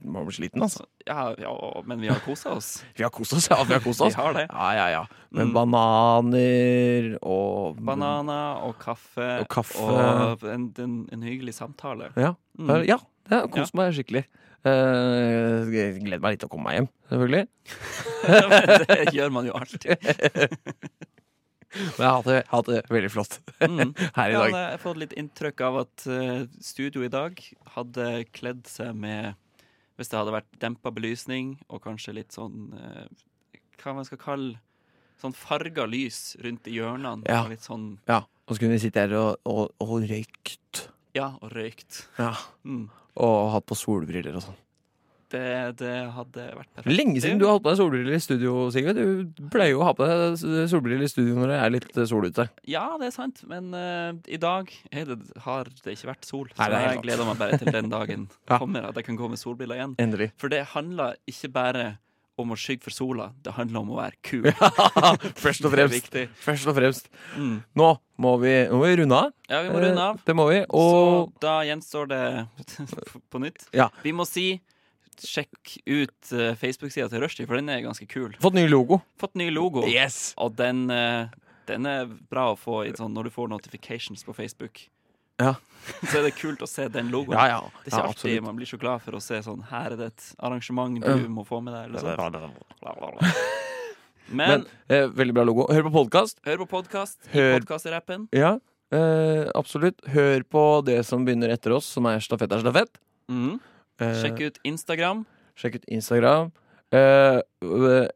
Speaker 4: vi må bli sliten, altså.
Speaker 3: Ja, ja, og- men vi har kosa oss.
Speaker 4: Vi har kost oss. Ja, vi har kost
Speaker 3: Vi
Speaker 4: oss.
Speaker 3: har det.
Speaker 4: Ja, ja, ja. Med
Speaker 3: Mm.
Speaker 4: bananer og
Speaker 3: Bananer og kaffe
Speaker 4: Og kaffe.
Speaker 3: og en, en, en hyggelig samtale.
Speaker 4: Ja.
Speaker 3: Mm.
Speaker 4: ja det har kost meg skikkelig. Eh, jeg gleder meg litt til å komme meg hjem, selvfølgelig.
Speaker 3: det gjør man jo alltid.
Speaker 4: Men jeg har hatt det, jeg har hatt det veldig flott
Speaker 3: Mm.
Speaker 4: her i
Speaker 3: Ja,
Speaker 4: dag.
Speaker 3: jeg har fått litt inntrykk av at eh, studio i dag hadde kledd seg med Hvis det hadde vært dempa belysning og kanskje litt sånn eh, Hva man skal kalle Sånn farga lys rundt i hjørnene.
Speaker 4: Ja.
Speaker 3: Og litt sånn
Speaker 4: Ja, Og så kunne vi sitte her og, og, og røykt.
Speaker 3: Ja, og røykt.
Speaker 4: Ja.
Speaker 3: Mm.
Speaker 4: Og hatt på solbriller og sånn.
Speaker 3: Det, det hadde vært perfekt.
Speaker 4: Lenge siden du har hatt på deg solbriller i studio, Sigve. Du pleier jo å ha på deg solbriller i studio når det er litt eh, sol ute.
Speaker 3: Ja, det er sant, men eh, i dag er det, har det ikke vært sol. Så
Speaker 4: Nei, det er
Speaker 3: jeg
Speaker 4: helt
Speaker 3: gleder meg bare til den dagen
Speaker 4: Ja.
Speaker 3: kommer at jeg kan gå med solbriller igjen.
Speaker 4: Endelig.
Speaker 3: For det handler ikke bare om å skygge for sola, det handler om å være kul.
Speaker 4: Først
Speaker 3: Det er
Speaker 4: og fremst.
Speaker 3: viktig.
Speaker 4: Først og fremst.
Speaker 3: Mm.
Speaker 4: Nå må vi, nå må vi runde av.
Speaker 3: Ja, vi må runde av.
Speaker 4: Eh, Det må vi. Og
Speaker 3: Så da gjenstår det på nytt.
Speaker 4: Ja.
Speaker 3: Vi må si sjekk ut eh, Facebook-sida til Rushdie, for den er ganske kul.
Speaker 4: fått ny logo.
Speaker 3: Fått ny logo,
Speaker 4: Yes!
Speaker 3: og den, eh, den er bra å få i, sånn, når du får notifications på Facebook.
Speaker 4: Ja.
Speaker 3: Så er det kult å se den logoen.
Speaker 4: Ja, ja.
Speaker 3: Det er ikke
Speaker 4: ja,
Speaker 3: alltid
Speaker 4: absolutt.
Speaker 3: man blir så glad for å se sånn Her er det et arrangement du må få med deg, eller sånt. Bla, bla, bla. Men,
Speaker 4: Men eh, veldig bra logo. Hør på podkast.
Speaker 3: hør på podkast i
Speaker 4: Hør-
Speaker 3: podkast-rappen.
Speaker 4: Ja, eh, absolutt. Hør på det som begynner etter oss, som er stafett er stafett.
Speaker 3: Mm.
Speaker 4: Eh,
Speaker 3: Sjekk ut Instagram.
Speaker 4: sjekk ut Instagram. Eh,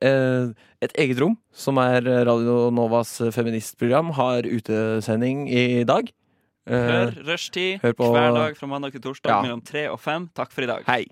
Speaker 4: eh, et eget rom, som er Radio Novas feministprogram, har utesending i dag. Eh,
Speaker 3: Hør Rushtid
Speaker 4: hør på-
Speaker 3: hver dag fra mandag til torsdag
Speaker 4: Ja.
Speaker 3: mellom tre og fem. Takk for i dag.
Speaker 4: Hei!